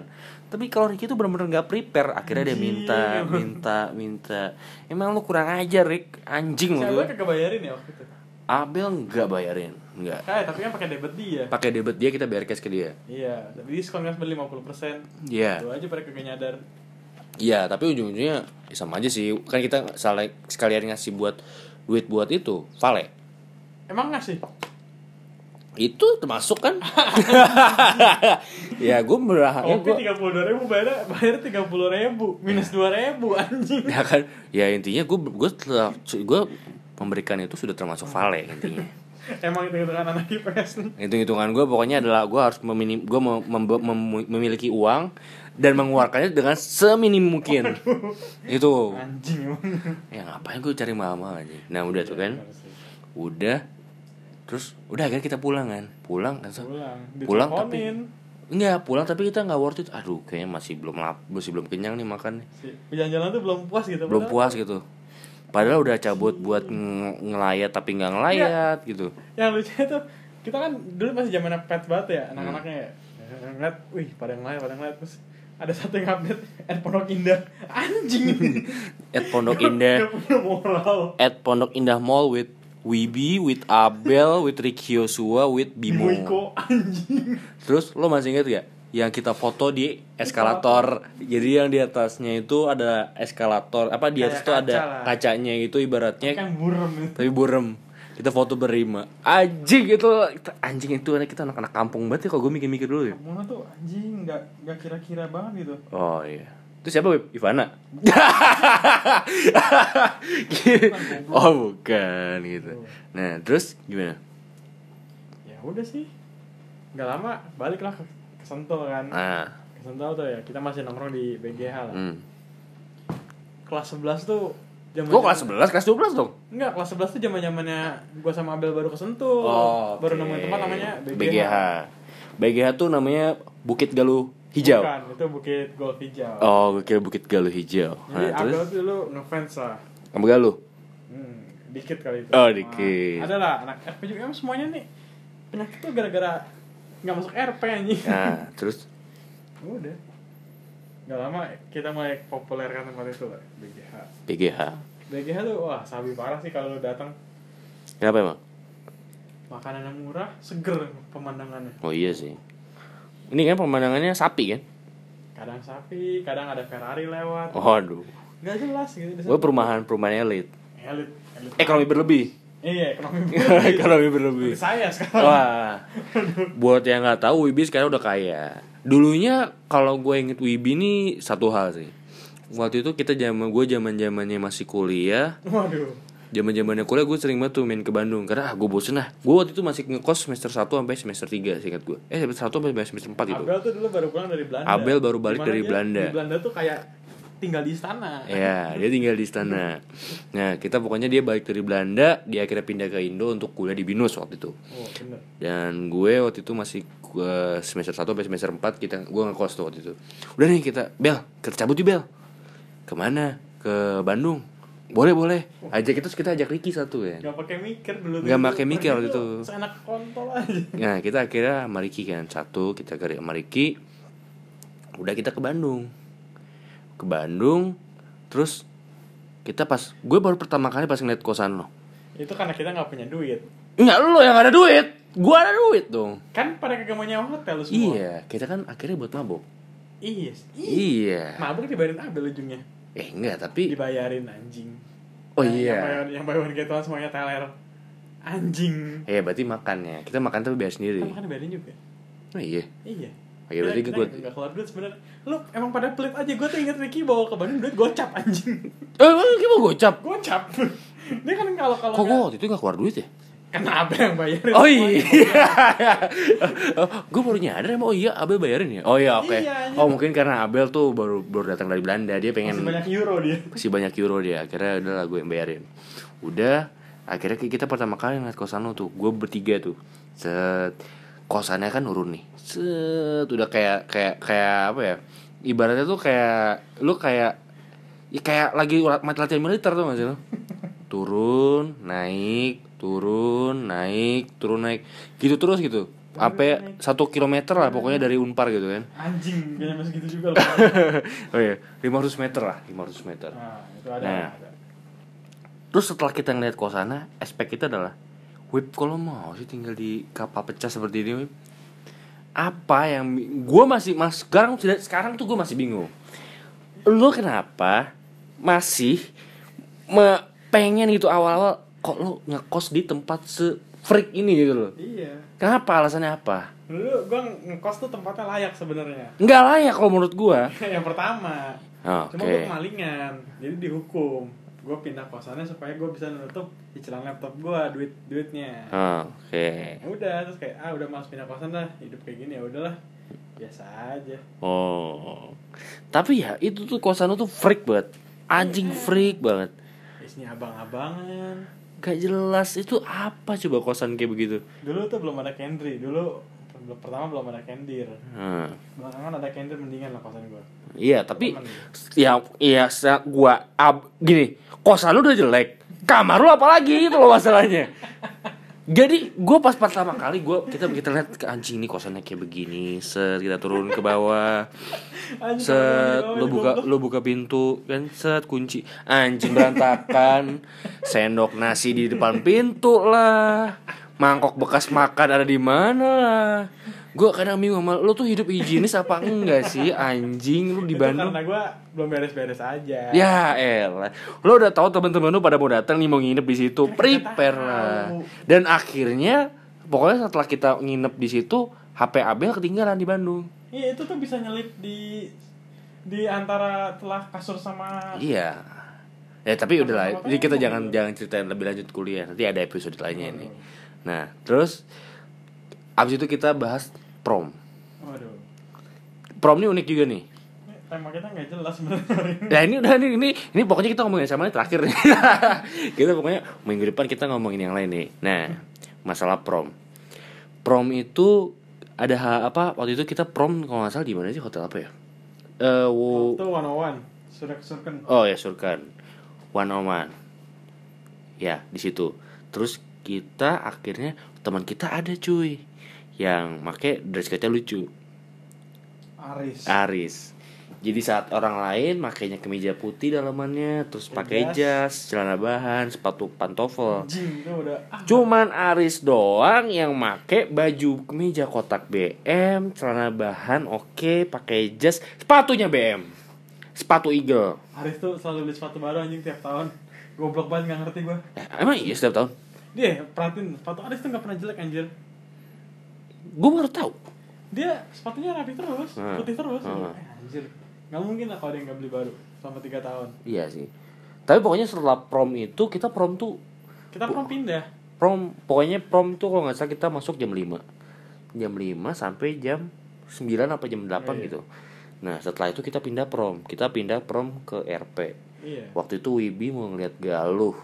B: tapi kalau Ricky itu benar-benar nggak prepare akhirnya dia
A: Anjing.
B: minta minta minta emang lu kurang ajar Rick anjing
A: Siapa
B: lu
A: kagak bayarin ya waktu itu?
B: Abel nggak bayarin Enggak.
A: Kayak tapi kan pakai debit dia.
B: Pakai debit dia kita bayar cash ke dia.
A: Iya, tapi diskon kan sampai 50%.
B: Iya.
A: Itu aja pada kagak nyadar.
B: Iya, tapi ujung-ujungnya ya sama aja sih. Kan kita salah sekalian ngasih buat duit buat itu, vale.
A: Emang nggak sih?
B: Itu termasuk kan? ya, gue berharap
A: Oke, tiga puluh dua ribu bayar bayar tiga puluh ribu minus dua ribu anjing.
B: ya kan ya intinya gue gue telah gue memberikan itu sudah termasuk vale intinya
A: Emang itu kan anak IPS nih.
B: hitung hitungan gue pokoknya adalah gue harus meminim gue mem- mem- mem- memiliki uang dan mengeluarkannya dengan seminim mungkin itu
A: Anjing emang.
B: ya ngapain gue cari mama aja nah udah tuh kan udah terus udah kan kita pulang kan pulang kan
A: Pulang.
B: Pulang
A: diteleponin.
B: enggak pulang tapi kita nggak worth it aduh kayaknya masih belum lap masih belum kenyang nih makan nih
A: Si- Jalan-jalan tuh belum puas gitu.
B: belum
A: padahal.
B: puas gitu padahal udah cabut buat ng- ngelayat tapi nggak ngelayat gitu
A: Yang lucu tuh kita kan dulu masih zaman pet banget ya
B: Hmm.
A: anak-anaknya ya. Ngeliat, wih pada ngeliat, pada ngeliat terus ada satu yang update at Pondok Indah anjing
B: at Pondok Indah
A: Gak punya moral
B: at Pondok Indah Mall with Wibi, with Abel, with Ricky Yosua, with Bimo.
A: Bimoiko anjing
B: Terus lo masih inget gak? Yang kita foto di eskalator. Jadi yang di atasnya itu ada eskalator. Apa di atas
A: Kayak
B: itu
A: kaca
B: ada
A: lah.
B: kacanya itu ibaratnya
A: kan burem itu
B: tapi burem. Kita foto berima. Anjing itu anjing itu kita anak-anak kampung banget ya kalau gue mikir-mikir dulu ya.
A: Mona tuh anjing nggak nggak kira-kira banget gitu
B: Oh iya. Itu siapa Beb? Ivana? oh bukan gitu. Nah terus gimana?
A: ya udah sih nggak lama baliklah ke, ke Sentul kan
B: Ah,
A: ke Sentul tuh ya kita masih nongkrong di BGH lah
B: hmm.
A: kelas 11 tuh zaman
B: Gue kelas 11, kelas 12 dong
A: Enggak, kelas 11 tuh zaman zamannya gua sama Abel baru ke Sentul. Oh, baru
B: Oh, oke.
A: nemuin tempat namanya BGH.
B: BGH BGH tuh namanya Bukit Galuh Hijau
A: Bukan, itu Bukit Golf Hijau.
B: Oh gue kira Bukit Galuh Hijau
A: Jadi
B: Nah
A: Abel
B: terus
A: tuh dulu ngefans lah.
B: Sama Galuh
A: Hmm, dikit kali itu.
B: Oh, dikit.
A: Nah, ada lah anak FPJM semuanya nih penyakit tuh gara-gara nggak masuk RP anjing.
B: Nah terus
A: Udah. Nggak lama kita mulai populer kan tempat itu lah, BGH.
B: BGH
A: BGH tuh wah sabi parah sih kalau lu datang
B: Kenapa emang?
A: makanan yang murah, seger pemandangannya.
B: Oh iya sih Ini kan pemandangannya sapi kan?
A: Kadang sapi, kadang ada Ferrari lewat.
B: Oh aduh
A: Gak jelas gitu. di
B: Gue
A: sana.
B: perumahan, perumahan elit Eh,
A: Elit, elit. Eh,
B: Ekonomi berlebih
A: Iya, ekonomi.
B: Ekonomi berlebih
A: Seperti saya sekarang.
B: Wah, buat yang nggak tahu Wibi sekarang udah kaya. Dulunya kalau gue inget Wibi ini satu hal sih. Waktu itu kita zaman gue zaman zamannya masih kuliah,
A: Waduh.
B: zaman zamannya kuliah gue sering banget tuh main ke Bandung karena ah, gue bosen lah. Gue waktu itu masih ngekos semester 1 sampai semester 3 singkat gue. Eh semester 1 sampai semester 4 gitu.
A: Abel tuh dulu baru pulang dari Belanda.
B: Abel baru balik
A: Dimana
B: dari
A: dia
B: Belanda.
A: Di Belanda tuh kayak tinggal di istana.
B: Ya, dia tinggal di istana. Nah, kita pokoknya dia balik dari Belanda, dia akhirnya pindah ke Indo untuk kuliah di Binus waktu itu.
A: Oh, bener.
B: dan gue waktu itu masih eh, semester 1 sampai semester 4 kita gue ngekos tuh waktu itu udah nih kita bel kita cabut yuk bel kemana ke Bandung boleh boleh ajak itu kita ajak Ricky satu ya
A: Gak pakai mikir dulu.
B: Nggak
A: dulu.
B: pakai mikir
A: Pergi
B: waktu
A: tuh
B: itu.
A: Seenak kontol aja.
B: nah kita akhirnya sama Ricky kan satu kita ke sama Ricky udah kita ke Bandung ke Bandung terus kita pas gue baru pertama kali pas ngeliat kosan lo
A: Itu karena kita gak punya duit.
B: nggak lo yang ada duit gue ada duit dong
A: Kan pada kagak mau nyewa hotel lu semua.
B: iya kita kan akhirnya buat mabok
A: Iya. Iya.
B: iya
A: Mabuk dibayarin Abel ujungnya.
B: Eh enggak tapi
A: Dibayarin anjing.
B: Oh
A: Yang-
B: iya.
A: Yang bayar- Yang bayarin gitu semuanya teler. Anjing.
B: Eh berarti makannya Kita makan tapi bayar sendiri
A: Kan makan dibayarin juga.
B: Oh iya
A: Iya.
B: Oke, berarti
A: kita,
B: gue
A: kita nggak keluar duit sebenarnya. Lu emang pada pelit aja. Gue tuh inget Ricky bawa ke Bandung duit gocap anjing.
B: Eh gimana gocap
A: Gocap. Dia kan kalau kalau
B: Kok gue
A: nggak-
B: waktu itu gak keluar duit ya?
A: kenapa yang bayarin?
B: Oh iya Gue baru nyadar emang oh iya Abel bayarin ya? Oh iya oke
A: Iya, iya.
B: Oh mungkin karena Abel tuh baru baru datang dari Belanda Dia pengen
A: Masih banyak euro dia.
B: masih banyak euro dia Akhirnya udah lah gue yang bayarin Udah Akhirnya kita pertama kali ngeliat kosan lo tuh Gue bertiga tuh Set Kosannya kan nurun nih Set Udah kayak Kayak kayak apa ya Ibaratnya tuh kayak Lu kayak ya kayak lagi ula- mati latihan militer tuh gak sih lo Turun Naik Turun Naik Turun naik Gitu terus gitu Sampai satu kilometer lah pokoknya dari Unpar gitu kan
A: Anjing, gak nyampe segitu juga loh.
B: Oh iya 500 meter lah 500 meter
A: Nah, itu ada.
B: Nah.
A: ada.
B: Terus setelah kita ngeliat kosana, aspek kita adalah Wip kalau mau sih tinggal di kapal pecah seperti ini Wip apa yang gue masih mas sekarang tidak sekarang tuh gue masih bingung lo kenapa masih me- pengen gitu awal-awal kok lo ngekos di tempat se freak ini gitu loh
A: Iya.
B: kenapa alasannya apa
A: Dulu gua ngekos tuh tempatnya layak sebenarnya.
B: nggak layak kalau menurut gue
A: yang pertama.
B: Oke.
A: Cuma gue kemalingan, jadi dihukum. Gue pindah kosannya supaya gue bisa nutup cicilan laptop gue, duit duitnya.
B: oke
A: Ya Udah terus kayak ah udah males pindah kosan dah, hidup kayak gini ya udahlah. Biasa aja.
B: oh tapi ya itu tuh kosan lo tuh freak banget anjing freak banget
A: Isinya abang-abangan.
B: gak jelas itu apa coba kosan kayak begitu
A: Dulu tuh belum ada Kendri, dulu belum- pertama belum ada Kendir.
B: Hmm.
A: Belakangan ada Kendir mendingan lah kosan gue.
B: Iya tapi
A: Temen.
B: ya iya sa- gua ab, gini kosan lu udah jelek kamar lu apalagi itu loh masalahnya jadi gua pas pertama kali gua kita kita lihat ke anjing nih kosannya kayak begini set kita turun ke bawah set
A: gitu,
B: lu buka lu buka pintu kan set kunci anjing berantakan sendok nasi di depan pintu lah mangkok bekas makan ada di mana lah gua kadang bingung sama lu tuh hidup higienis apa enggak sih anjing lu di Bandung
A: karena gue belum beres-beres aja.
B: Ya elah Lo udah tahu teman-teman lu pada mau datang nih mau nginep di situ Prepare lah
A: tahu.
B: Dan akhirnya Pokoknya setelah kita nginep di situ HP Abel ketinggalan di Bandung
A: Iya itu tuh bisa nyelip di di antara telah kasur sama
B: Iya Ya tapi udahlah
A: Apa-apa
B: Jadi kita
A: emang
B: jangan
A: gitu.
B: jangan ceritain lebih lanjut kuliah Nanti ada episode lainnya ini Nah terus Abis itu kita bahas prom
A: Waduh.
B: Prom ini unik juga nih
A: Ini Tema kita nggak jelas sebenarnya hari ini.
B: Nah ini udah nih ini ini pokoknya kita ngomongin sama ini terakhir nih. kita pokoknya minggu depan kita ngomongin yang lain nih. Nah, masalah prom. Prom itu ada ha- apa waktu itu kita prom kalau nggak salah di mana sih hotel apa ya? Eh wo-
A: Itu 101 sudah kesurkan.
B: Oh ya Surkan. One on one. Ya, di situ. Terus kita akhirnya teman kita ada cuy yang make dress code-nya lucu.
A: Aris.
B: Ah. Aris. Jadi saat orang lain makainya kemeja putih dalamannya, terus pakai
A: Jas.
B: jas, celana bahan, sepatu pantofel.
A: Jing itu udah ah,
B: Cuman Aris doang yang make baju kemeja kotak BM, celana bahan oke, pakai jas, sepatunya BM. Sepatu Eagle.
A: Aris tuh selalu beli sepatu baru anjing tiap tahun. Goblok banget nggak ngerti gue.
B: Eh, emang iya setiap tahun?
A: Dia perhatiin sepatu Aris tuh nggak pernah jelek anjir.
B: Gue baru tahu.
A: Dia sepatunya rapi terus,
B: Hmm.
A: putih terus.
B: Hmm.
A: Eh, anjir. Nggak mungkin lah kalau dia nggak beli baru selama 3 tahun.
B: Iya sih. Tapi pokoknya setelah prom itu kita prom tuh
A: Kita pernah pindah.
B: prom pokoknya prom tuh kalau nggak salah kita masuk jam 5 jam 5 sampai jam 9 apa jam 8
A: Iya.
B: gitu nah setelah itu kita pindah prom kita pindah prom ke RP
A: Iya.
B: waktu itu Wibi mau ngeliat Galuh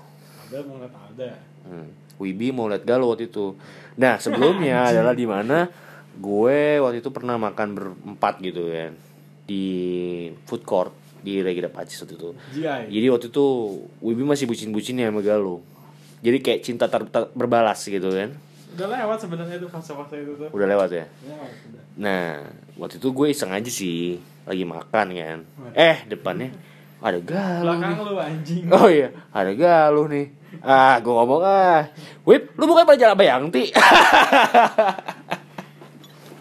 A: Ada mau ngeliat ada.
B: hmm. Wibi mau ngeliat Galuh waktu itu nah sebelumnya adalah di mana gue waktu itu pernah makan berempat gitu kan di food court di Regida Pacis waktu itu
A: GI.
B: jadi waktu itu Wibi masih bucin-bucinnya sama Galuh jadi kayak cinta tak tak berbalas gitu kan
A: Udah lewat sebenarnya itu fase-fase itu tuh.
B: Udah lewat
A: Ya,
B: ya?
A: udah.
B: Nah, waktu itu gue iseng aja sih Lagi makan kan Eh, depannya ada galuh
A: Belakang
B: nih.
A: lu anjing.
B: Oh iya, ada galuh nih Ah, gue ngomong ah Wip, lu bukan pada jalan Bayangti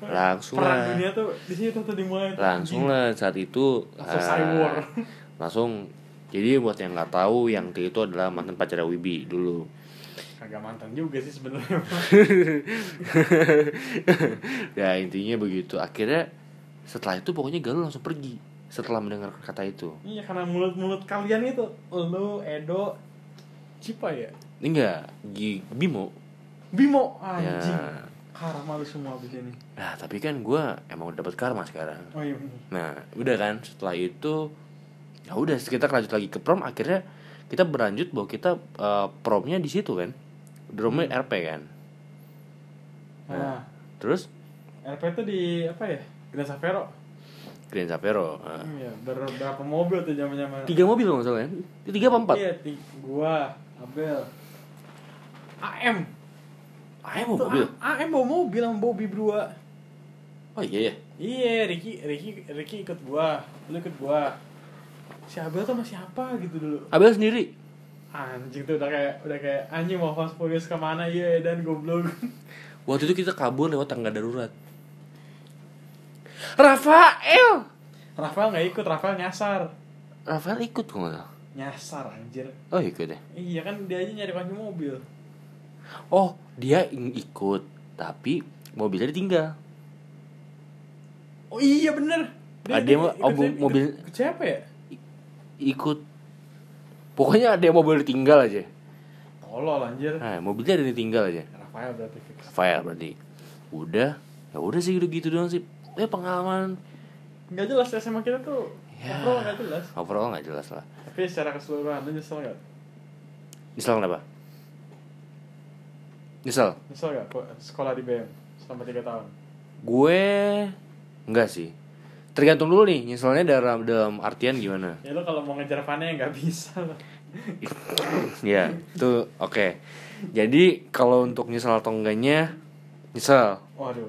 B: Langsung
A: Perang
B: lah
A: dunia tuh di situ tuh dimulai. tuh,
B: Langsung
A: anjing.
B: lah saat itu
A: Langsung
B: ah,
A: cyber.
B: Langsung jadi buat yang nggak tahu, Yangti itu adalah mantan pacarnya Wibi dulu.
A: Kagak mantan juga sih sebenarnya.
B: ya intinya begitu akhirnya setelah itu pokoknya Galuh langsung pergi setelah mendengar kata itu
A: iya karena mulut-mulut kalian itu lu Edo Cipa ya.
B: ini enggak Gi- Bimo
A: Bimo anjing.
B: Ya.
A: Karma lu semua abis ini.
B: nah tapi kan gue emang udah dapat karma sekarang
A: Oh iya bener.
B: nah udah kan setelah itu ya udah kita lanjut lagi ke prom akhirnya kita berlanjut bahwa kita eh, promnya di situ kan drumnya RP kan Ya.
A: Nah,
B: terus
A: RP tuh di apa ya? Grand Savero.
B: Grand Savero eh.
A: Iya, ber berapa mobil tuh zaman-zaman.
B: tiga mobil kalau nggak salah kan tiga apa empat
A: Iya, ti- gua, Abel. AM.
B: ah
A: Tuh,
B: mau mobil
A: A- AM bawa mobil sama Bobby berdua.
B: oh iya ya
A: Iya, Ricky, Ricky, Ricky ikut gua, lu ikut gua. Si Abel tuh sama siapa gitu dulu?
B: Abel sendiri
A: anjing tuh udah kayak udah kayak anjing mau fast furious kemana iya dan goblok
B: Waktu itu kita kabur lewat tangga darurat. Rafael.
A: Rafael nggak ikut Rafael nyasar
B: Rafael ikut kok nggak salah.
A: nyasar anjir
B: Oh ikut ya.
A: iya kan dia aja nyari kunci mobil
B: Oh dia ing- ikut tapi mobilnya ditinggal.
A: oh iya bener
B: Ada yang mau- oh,
A: siapa-
B: mobil-
A: ikut siapa ya
B: Ikut. Pokoknya ada yang mobil ditinggal aja.
A: tolol anjir
B: Nah mobilnya ada yang ditinggal aja.
A: Rafael berarti fix
B: Rafael berarti. Udah. Ya udah sih udah gitu doang sih. Eh pengalaman
A: nggak jelas SMA kita tuh
B: Ya.
A: Overall nggak jelas
B: overall nggak jelas lah.
A: tapi secara keseluruhan lu nyesel nggak
B: Nyesel kenapa? Nyesel.
A: nyesel nggak kok sekolah di BM selama tiga tahun
B: Gue enggak sih. Tergantung dulu nih nyeselnya dalam dalam artian gimana.
A: ya lu kalau mau ngejar Vane ya nggak bisa lah.
B: ya, itu oke. Jadi kalau untuk nyesel atau enggaknya nyesel
A: waduh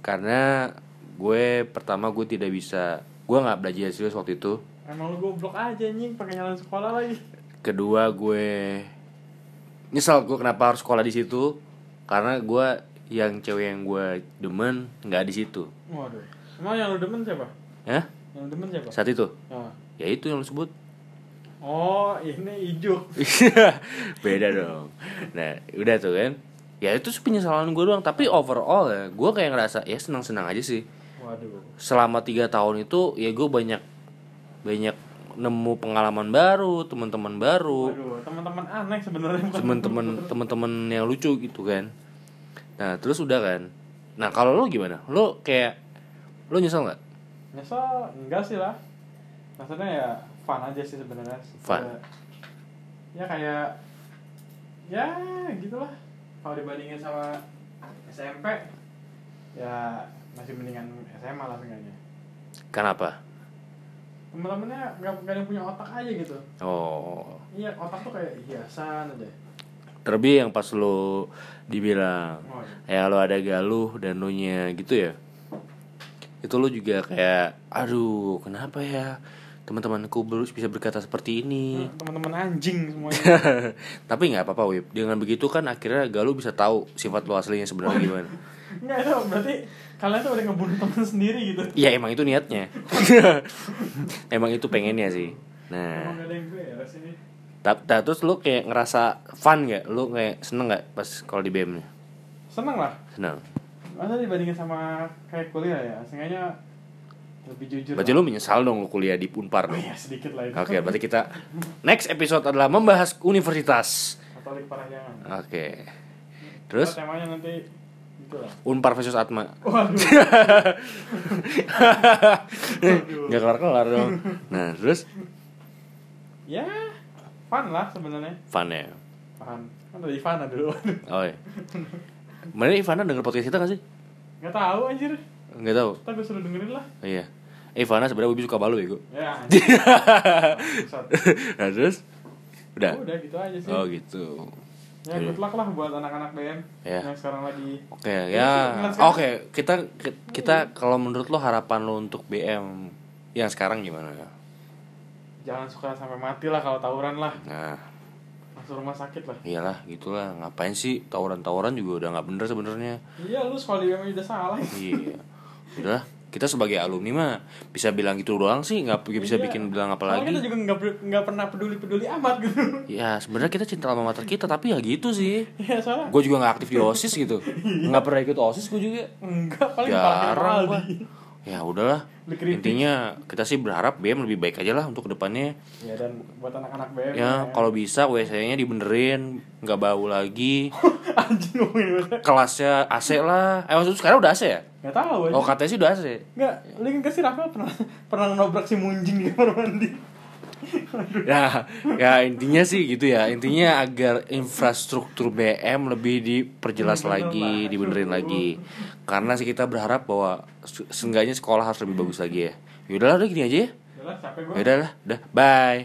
B: karena gue pertama gue tidak bisa gue nggak belajar serius waktu itu.
A: emang lu goblok aja anjing pakai nyalain sekolah lagi
B: Kedua gue nyesel gue kenapa harus sekolah di situ karena gue yang cewek yang gue demen nggak di situ.
A: waduh emang yang lu demen siapa
B: Hah?
A: yang lu demen siapa
B: Saat itu?
A: Ah.
B: Ya itu yang lo sebut.
A: oh ini ijuk
B: Iya, beda dong nah udah tuh kan ya itu penyesalan gue doang tapi overall ya gue kayak ngerasa ya senang senang aja sih
A: waduh
B: selama tiga tahun itu ya gue banyak banyak nemu pengalaman baru teman-teman baru
A: waduh teman-teman aneh sebenarnya bukan
B: teman-teman teman-teman yang lucu gitu kan nah terus udah kan nah kalau lo gimana lo kayak lo nyesel nggak
A: nyesel enggak sih lah maksudnya ya fun aja sih sebenarnya
B: Fun.
A: Kayak- ya kayak ya gitulah kalau dibandingin sama SMP ya masih mendingan SMA lah seenggaknya
B: kenapa
A: temen-temennya nggak nggak ada yang punya otak aja gitu
B: oh
A: iya otak tuh kayak hiasan aja
B: terlebih yang pas lo dibilang
A: oh, iya.
B: ya lo ada galuh dan lo nya gitu ya itu lo juga kayak aduh kenapa ya teman-temanku belum bisa berkata seperti ini
A: teman-teman anjing semuanya
B: tapi nggak apa-apa Wib dengan begitu kan akhirnya galuh bisa tahu sifat lo aslinya sebenarnya gimana
A: nggak itu berarti kalian tuh udah ngebunuh teman sendiri gitu
B: ya emang itu niatnya emang itu pengennya sih
A: emang
B: nah
A: nggak ada yang beres ini
B: ta- ta- terus lo kayak ngerasa fun nggak lo kayak seneng nggak pas kalau di BM nya
A: seneng lah
B: seneng
A: Masa dibandingin sama kayak kuliah ya, seenggaknya lebih jujur.
B: berarti
A: lah.
B: lo menyesal dong lo kuliah di
A: Oh
B: Unpar dong
A: iya, sedikit lah itu.
B: Oke, berarti kita next episode adalah membahas universitas.
A: Katolik Parahyangan. Nah,
B: Oke. Ah, Terus
A: temanya nanti gitu lah.
B: Unpar versus Atma.
A: Waduh.
B: Nggak kelar-kelar dong. Nah, terus
A: ya, fun lah sebenarnya.
B: Fun ya.
A: Fun. Kan dari fun dulu.
B: Oh. iya. Mana Ivana denger podcast kita gak sih?
A: Gak tahu anjir.
B: Nggak tahu.
A: Tapi gue suruh dengerin lah.
B: Oh, iya. Eh, Ivana sebenarnya Wibi suka balu ya, gua.
A: Ya. anjir. Bangsat.
B: Nah, terus udah.
A: Udah gitu aja sih.
B: Oh, gitu.
A: Ya good luck lah buat anak-anak BM
B: Ya.
A: yang sekarang lagi
B: Oke,
A: sih,
B: ya.
A: ngeliat
B: Oke,
A: sekarang.
B: kita ki- kita kalau menurut lo harapan lo untuk BM yang sekarang gimana?
A: jangan suka sampai mati lah kalau tawuran lah
B: Nah,
A: masuk rumah sakit lah
B: iyalah gitulah. Ngapain sih tawuran-tawuran juga udah nggak bener sebenarnya.
A: iya lu sekolah di BM aja udah salah
B: Iya. Udah, kita sebagai alumni mah bisa bilang gitu doang sih, nggak p- bisa
A: Iya.
B: bikin bilang apa
A: Soalnya kita
B: lagi.
A: juga nggak per- nggak pernah peduli peduli amat gitu.
B: Ya, sebenarnya kita cinta sama mater kita, tapi ya gitu sih.
A: ya soalnya
B: Gue juga nggak aktif di OSIS gitu. Nggak pernah ikut OSIS gue juga.
A: enggak Iya. paling pakai
B: Jarang gue.
A: Aldi.
B: Ya udahlah.
A: Dikritik.
B: Intinya kita sih berharap BM lebih baik aja lah untuk kedepannya.
A: Ya dan buat anak-anak BM.
B: Ya, kalau bisa WC-nya dibenerin, nggak bau lagi.
A: anjing ngomongin gue.
B: Kelasnya AC lah. Eh maksudnya sekarang udah AC ya?
A: Enggak tahu aja.
B: Oh katanya sih udah AC.
A: Enggak, lu ingat nggak sih Rafael pernah pernah nobrak si Munjing di kamar mandi.
B: ya ya intinya sih gitu ya intinya agar infrastruktur BM lebih diperjelas
A: Dibenerin
B: lagi
A: lah.
B: dibenerin lagi karena sih kita berharap bahwa se- seenggaknya sekolah harus lebih bagus lagi ya yaudahlah udah gini aja ya
A: Udah lah, capek gue.
B: yaudahlah udah bye